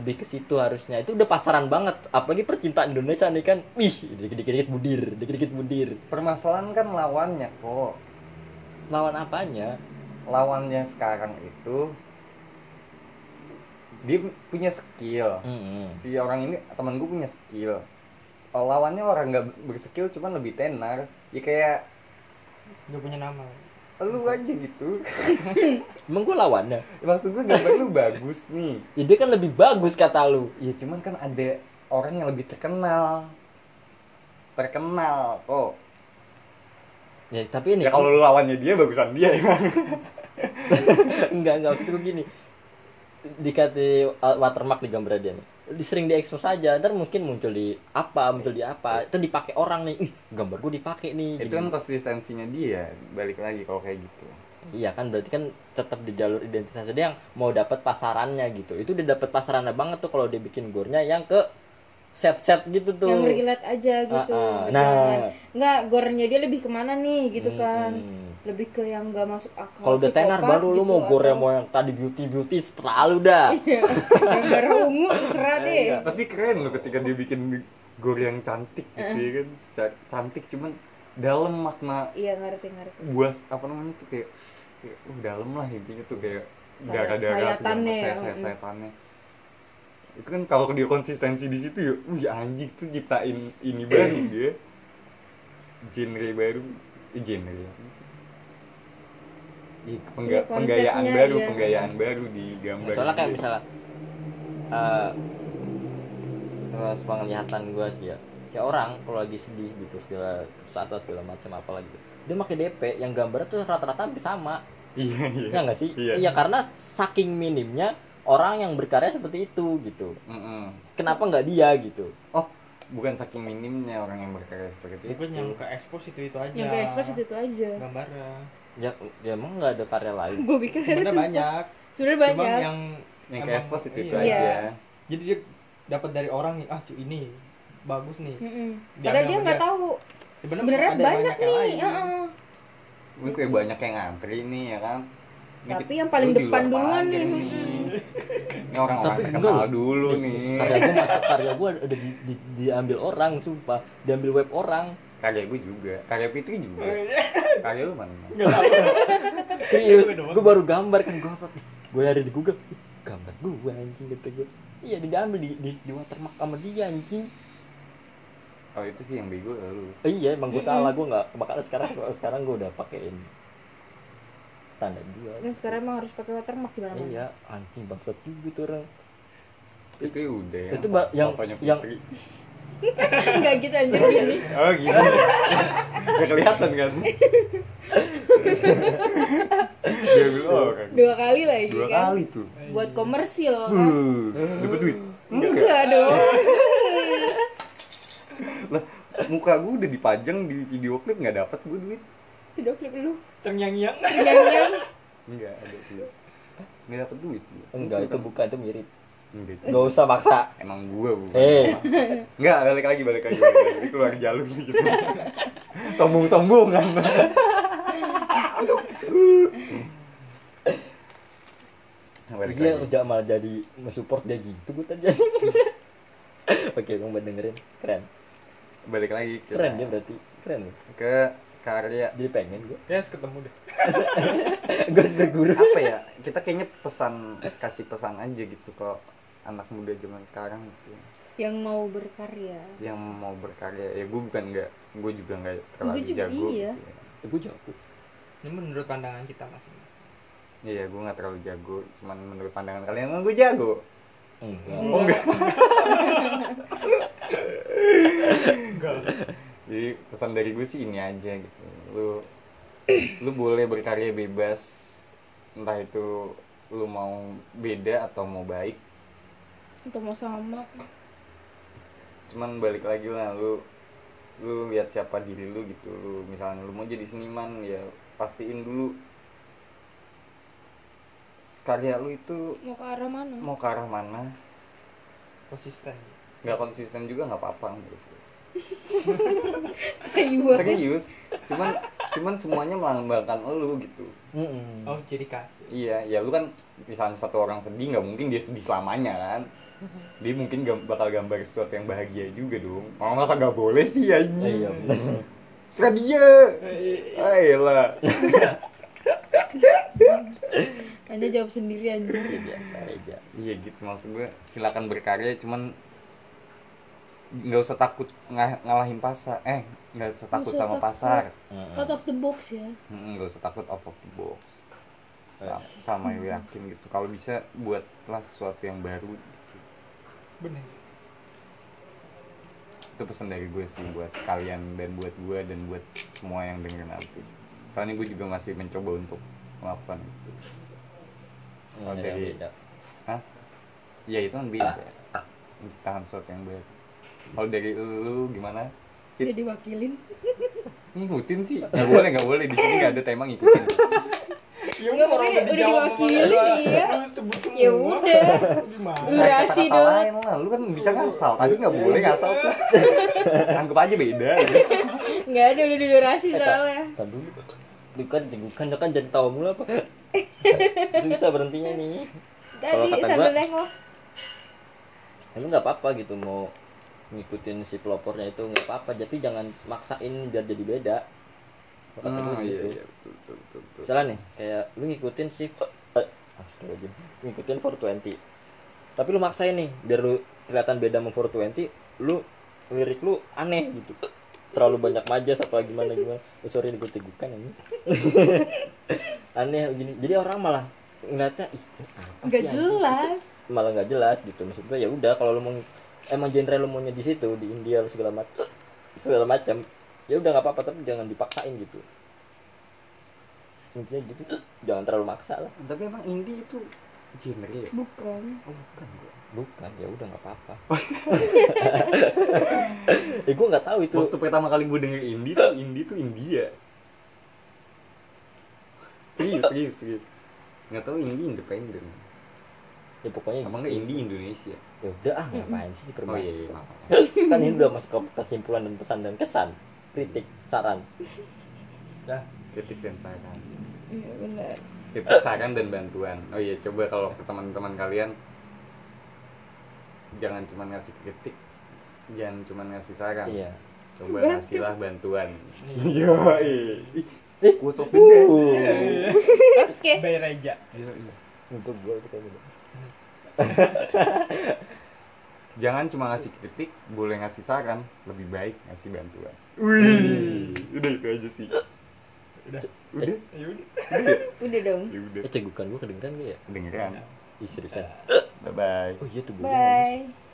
Speaker 2: lebih ke situ harusnya. Itu udah pasaran banget. Apalagi percintaan Indonesia nih kan. Wih, dikit-dikit budir, dikit-dikit budir.
Speaker 3: permasalahan kan lawannya kok
Speaker 2: Lawan apanya?
Speaker 3: lawannya sekarang itu dia punya skill
Speaker 2: Hmm.
Speaker 3: si orang ini temen gue punya skill Kalau lawannya orang nggak berskill cuman lebih tenar ya kayak
Speaker 1: Gak punya nama.
Speaker 3: lu aja gitu
Speaker 2: Emang gue lawannya.
Speaker 3: maksud gue gambar lu bagus nih
Speaker 2: Ya, dia kan lebih bagus kata lu.
Speaker 3: ya cuman kan ada orang yang lebih terkenal terkenal kok
Speaker 2: Ya, tapi ini
Speaker 3: ya kalau lu lawannya dia bagusan dia ya
Speaker 2: enggak enggak maksud gue gini dikati uh, watermark di gambar dia nih Di- sering diekspos aja ntar mungkin muncul di apa muncul di apa itu dipakai orang nih ih gambar gue dipakai nih
Speaker 3: itu
Speaker 2: gini.
Speaker 3: kan konsistensinya dia balik lagi kalau kayak gitu
Speaker 2: iya kan berarti kan tetap di jalur identitas dia yang mau dapat pasarannya gitu itu udah dapat pasarannya banget tuh kalau dia bikin gornya yang ke set-set gitu tuh
Speaker 4: yang relate aja gitu
Speaker 2: Ah, ah.
Speaker 4: Jangan,
Speaker 2: nah
Speaker 4: nggak gorenya dia lebih kemana nih gitu
Speaker 2: Mm,
Speaker 4: kan
Speaker 2: mm.
Speaker 4: lebih ke yang nggak masuk akal
Speaker 2: kalau udah tenar
Speaker 4: psikopat
Speaker 2: baru lu
Speaker 4: gitu,
Speaker 2: mau gornya
Speaker 4: atau
Speaker 2: mau yang tadi beauty beauty terlalu dah
Speaker 4: yang darah ungu
Speaker 2: Iya.
Speaker 4: terserah deh
Speaker 3: Ya, tapi keren loh ketika dia bikin gor yang cantik gitu ya kan Secara- cantik cuman dalam makna
Speaker 4: iya ngerti ngerti
Speaker 3: buas apa namanya tuh kayak, kayak uh, dalam lah intinya tuh kayak
Speaker 4: Sayat-
Speaker 3: darah-darah
Speaker 4: sayatannya ya,
Speaker 3: sayat
Speaker 4: mm.
Speaker 3: sayatannya itu kan kalau dia konsistensi di situ ya wih anjing tuh ciptain ini baru
Speaker 4: Eh.
Speaker 3: dia genre baru eh, genre apa sih? Ih, pengga-
Speaker 4: Iya, konsepnya,
Speaker 3: penggayaan baru
Speaker 4: iya.
Speaker 3: penggayaan baru di gambar
Speaker 2: soalnya kayak
Speaker 3: gitu.
Speaker 2: misalnya eh eh, penglihatan gue sih ya kayak orang kalau lagi sedih gitu segala sasa segala macam apalah gitu dia pakai DP yang gambarnya tuh rata-rata hampir sama
Speaker 3: iya iya
Speaker 2: ya nggak sih
Speaker 3: Iya.
Speaker 2: iya karena saking minimnya orang yang berkarya seperti itu gitu
Speaker 3: Mm-mm.
Speaker 2: kenapa nggak dia gitu
Speaker 3: oh bukan saking minimnya orang yang berkarya seperti itu
Speaker 1: Mungkin yang ke expose itu itu aja.
Speaker 4: yang kayak ekspres itu, aja
Speaker 1: Gambarnya.
Speaker 2: ya, ya emang nggak ada karya lain
Speaker 4: gue pikir
Speaker 1: Sebenarnya banyak.
Speaker 4: sebenarnya
Speaker 1: Cuman
Speaker 4: banyak
Speaker 1: yang
Speaker 3: yang
Speaker 1: Emang-
Speaker 3: kayak expose itu, itu
Speaker 4: iya.
Speaker 3: aja
Speaker 1: jadi dia dapat dari orang nih, ah cu ini bagus nih.
Speaker 4: Mm-mm.
Speaker 1: Diambil
Speaker 4: padahal dia
Speaker 1: sama
Speaker 4: nggak
Speaker 1: dia.
Speaker 4: tahu
Speaker 1: Sebenarnya
Speaker 4: Hmm. sebenarnya
Speaker 1: ada
Speaker 4: banyak,
Speaker 1: yang
Speaker 4: nih
Speaker 1: lain.
Speaker 4: heeh.
Speaker 3: Ini
Speaker 2: Iya.
Speaker 3: kayak banyak yang ngantri nih ya kan. Ini
Speaker 4: Tapi
Speaker 3: kita-
Speaker 4: yang paling
Speaker 3: lu di
Speaker 4: depan
Speaker 3: luar
Speaker 4: duluan
Speaker 3: aja
Speaker 4: nih.
Speaker 3: Ini orang-orang
Speaker 2: Tapi
Speaker 3: terkenal
Speaker 2: enggak.
Speaker 3: dulu nih.
Speaker 2: karya gue masuk karya gue udah di- di- diambil orang sumpah diambil web orang
Speaker 3: Karya gue juga, karya Fitri juga.
Speaker 2: Oh, iya.
Speaker 3: Karya lu mana?
Speaker 1: Nggak tahu.
Speaker 2: Serius,
Speaker 1: Gue doang.
Speaker 2: gue baru gambar kan gue upload. Gue nyari di Google, Ih, gambar gue anjing kata gue. Iya diambil di di, di watermark sama dia anjing.
Speaker 3: Oh itu sih yang bego lu.
Speaker 2: Eh, iya emang gue
Speaker 4: Mm-mm.
Speaker 2: salah gue nggak makanya sekarang sekarang gue udah pakein tanda dia.
Speaker 4: kan sekarang emang harus pakai watermark gimana mana
Speaker 2: Iya anjing bangsat juga tuh orang.
Speaker 3: Itu ya udah ya.
Speaker 2: Itu ba- yang-
Speaker 3: fotonya
Speaker 2: yang-
Speaker 3: Fitri.
Speaker 4: nggak gitu aja gini
Speaker 3: Oh gitu. Gak kelihatan kan? Dia bilang orang.
Speaker 4: dua kali lagi
Speaker 3: oh, kan? Dua
Speaker 4: kan
Speaker 3: kali tuh.
Speaker 4: buat komersil kan
Speaker 3: Buh, dapat duit.
Speaker 4: enggak dong
Speaker 3: Lah, muka gue udah dipajang di video klip nggak dapat gue duit.
Speaker 4: video klip lu
Speaker 1: Terngiang-ngiang.
Speaker 4: nyanyian
Speaker 3: Enggak ada sih. Nggak dapat duit. gua.
Speaker 2: Enggak, itu bukan, itu mirip.
Speaker 3: Enggak itu.
Speaker 2: Gak usah maksa.
Speaker 3: Emang gue bukan.
Speaker 2: Hei.
Speaker 3: Enggak, balik lagi, balik lagi. Balik lagi. Ini keluar jalur gitu. kan? Sombong-sombongan. Balik
Speaker 2: Dia
Speaker 3: lagi.
Speaker 2: kerja malah jadi mensupport dia gitu gue tadi. Oke, kamu buat dengerin. Keren.
Speaker 3: Balik lagi. ke-
Speaker 2: Keren dia berarti. Keren. ya.
Speaker 3: Ke karya
Speaker 2: Jadi pengen gue.
Speaker 1: Ya, harus ketemu deh.
Speaker 2: gue harus berguru.
Speaker 3: apa ya kita kayaknya pesan kasih pesan aja gitu ke anak muda zaman sekarang gitu ya.
Speaker 4: yang mau berkarya
Speaker 3: yang mau berkarya ya gue bukan nggak gue juga nggak terlalu
Speaker 4: Gua juga
Speaker 3: jago
Speaker 4: iya.
Speaker 3: gitu ya.
Speaker 2: Eh, gue jago.
Speaker 1: Ini menurut pandangan kita masing-masing.
Speaker 3: iya gue nggak terlalu jago cuman menurut pandangan kalian emang gue jago
Speaker 2: Enggak.
Speaker 3: oh enggak
Speaker 1: Enggak.
Speaker 3: jadi pesan dari gue sih ini aja gitu lu lu boleh berkarya bebas entah itu lu mau beda atau mau baik
Speaker 4: atau mau sama
Speaker 3: cuman balik lagi lah lu lu lihat siapa diri lu gitu lu misalnya lu mau jadi seniman ya pastiin dulu karya lu itu
Speaker 4: mau ke arah mana
Speaker 3: mau ke arah mana
Speaker 1: Konsisten.
Speaker 3: nggak konsisten juga nggak apa-apa menurut gue.
Speaker 4: Tai banget.
Speaker 3: serius cuman cuman semuanya melambangkan lu gitu
Speaker 2: Mm-mm.
Speaker 1: Oh, ciri khas.
Speaker 3: iya ya lu kan misalnya satu orang sedih nggak mungkin dia sedih selamanya kan dia mungkin gam- bakal gambar sesuatu yang bahagia juga dong orang masa nggak boleh sih ya
Speaker 2: Eh,
Speaker 3: ini
Speaker 2: Iya, bener.
Speaker 3: Suka dia Ah,
Speaker 1: Eh,
Speaker 3: Ayolah.
Speaker 4: Anda jawab sendiri anjir
Speaker 2: Biasa aja.
Speaker 3: Iya gitu maksud gue. Silakan berkarya cuman nggak usah takut nga- ngalahin pasar. Eh, nggak usah takut
Speaker 4: usah
Speaker 3: sama
Speaker 4: takut.
Speaker 3: pasar.
Speaker 2: Mm-mm.
Speaker 4: out of the box ya
Speaker 3: Mm, Nggak usah takut out of the box. Sa-
Speaker 2: Eh.
Speaker 3: Sama yang yakin gitu. Kalau bisa buatlah sesuatu yang baru.
Speaker 1: bener.
Speaker 3: Itu pesan dari gue sih buat kalian dan buat gue dan buat semua yang dengerin aku. Karena gue juga masih mencoba untuk melakukan itu.
Speaker 2: Nggak ada yang
Speaker 3: Jadi-
Speaker 2: beda.
Speaker 3: Ya itu kan bisa. Menciptakan sesuatu yang baru. Kalau dari lu gimana?
Speaker 4: udah diwakilin
Speaker 3: ngikutin sih nggak boleh nggak boleh di sini nggak ada tema ngikutin
Speaker 1: Ya orang
Speaker 4: Enggak, mungkin Iya, udah
Speaker 1: dijawab
Speaker 4: diwakilin,
Speaker 1: sama orang.
Speaker 4: iya.
Speaker 1: Lu sebut semua.
Speaker 4: ya udah
Speaker 1: Gimana?
Speaker 3: Cari
Speaker 4: Durasi
Speaker 3: kata-kata
Speaker 4: doang.
Speaker 3: lain lah lu kan bisa ngasal tadi nggak boleh ngasal tuh anggap aja beda gitu.
Speaker 4: nggak ada udah di durasi soalnya
Speaker 2: Tar dulu. Lu kan jegukan, lu kan jadi tahu mulu apa. Susah berhentinya nih. Kalau kata
Speaker 4: tadi
Speaker 2: gua-
Speaker 4: sambil nengok
Speaker 2: Emang nggak apa-apa gitu mau ngikutin si pelopornya itu nggak apa-apa. Jadi jangan maksain biar jadi beda. Kata gue
Speaker 3: Hmm, iya,
Speaker 2: gitu.
Speaker 3: iya, betul, betul, betul, betul.
Speaker 2: misalnya nih kayak lu ngikutin shift eh, astagfirullahaladzim, ngikutin 420 tapi lu maksain nih biar lu kelihatan beda sama 420 lu lirik lu aneh gitu terlalu banyak majas apa gimana gimana oh, sorry gue tegukan ini aneh gini jadi orang malah ngeliatnya ih apa sih
Speaker 4: nggak
Speaker 2: anjing?"
Speaker 4: jelas
Speaker 2: malah nggak jelas gitu maksud gue ya udah kalau lu mau emang genre lu maunya di situ di India lu segala macam segala macam ya udah nggak apa-apa tapi jangan dipaksain gitu intinya gitu jangan terlalu maksa lah
Speaker 3: tapi emang indie itu genre ya
Speaker 4: bukan
Speaker 3: oh bukan gua.
Speaker 2: bukan ya udah nggak apa-apa ya gue nggak tahu itu
Speaker 3: waktu pertama kali gue denger indie tuh indie tuh India serius serius serius nggak tahu indie independen
Speaker 2: ya pokoknya
Speaker 3: apa
Speaker 2: gitu.
Speaker 3: nggak indie Indonesia
Speaker 2: ya udah ah ngapain sih
Speaker 3: oh
Speaker 2: dipermain
Speaker 3: iya iya maaf.
Speaker 2: kan ini udah masuk ke kesimpulan dan pesan dan kesan kritik saran
Speaker 3: dah kritik dan saran
Speaker 4: Iya, benar
Speaker 3: Kritik, saran dan bantuan oh iya coba kalau ke teman-teman kalian jangan cuma ngasih kritik jangan cuma ngasih saran
Speaker 2: iya
Speaker 3: coba
Speaker 4: Bantu.
Speaker 3: ngasihlah bantuan
Speaker 1: Iya.
Speaker 3: iya ih
Speaker 2: eh
Speaker 3: gue sopin deh
Speaker 1: uh.
Speaker 4: oke
Speaker 1: Bayar aja.
Speaker 3: Yoi.
Speaker 2: untuk gue itu kayak gitu
Speaker 3: jangan cuma ngasih kritik boleh ngasih saran lebih baik ngasih bantuan
Speaker 1: Wih.
Speaker 3: udah itu aja sih
Speaker 1: Udah.
Speaker 3: udah
Speaker 1: Ya udah.
Speaker 4: udah dong
Speaker 3: ya udah
Speaker 2: eh cegukan gue kedengeran gak ya
Speaker 3: dengeran
Speaker 2: Ih, seriusan
Speaker 3: bye bye
Speaker 2: oh iya tuh gue
Speaker 4: bye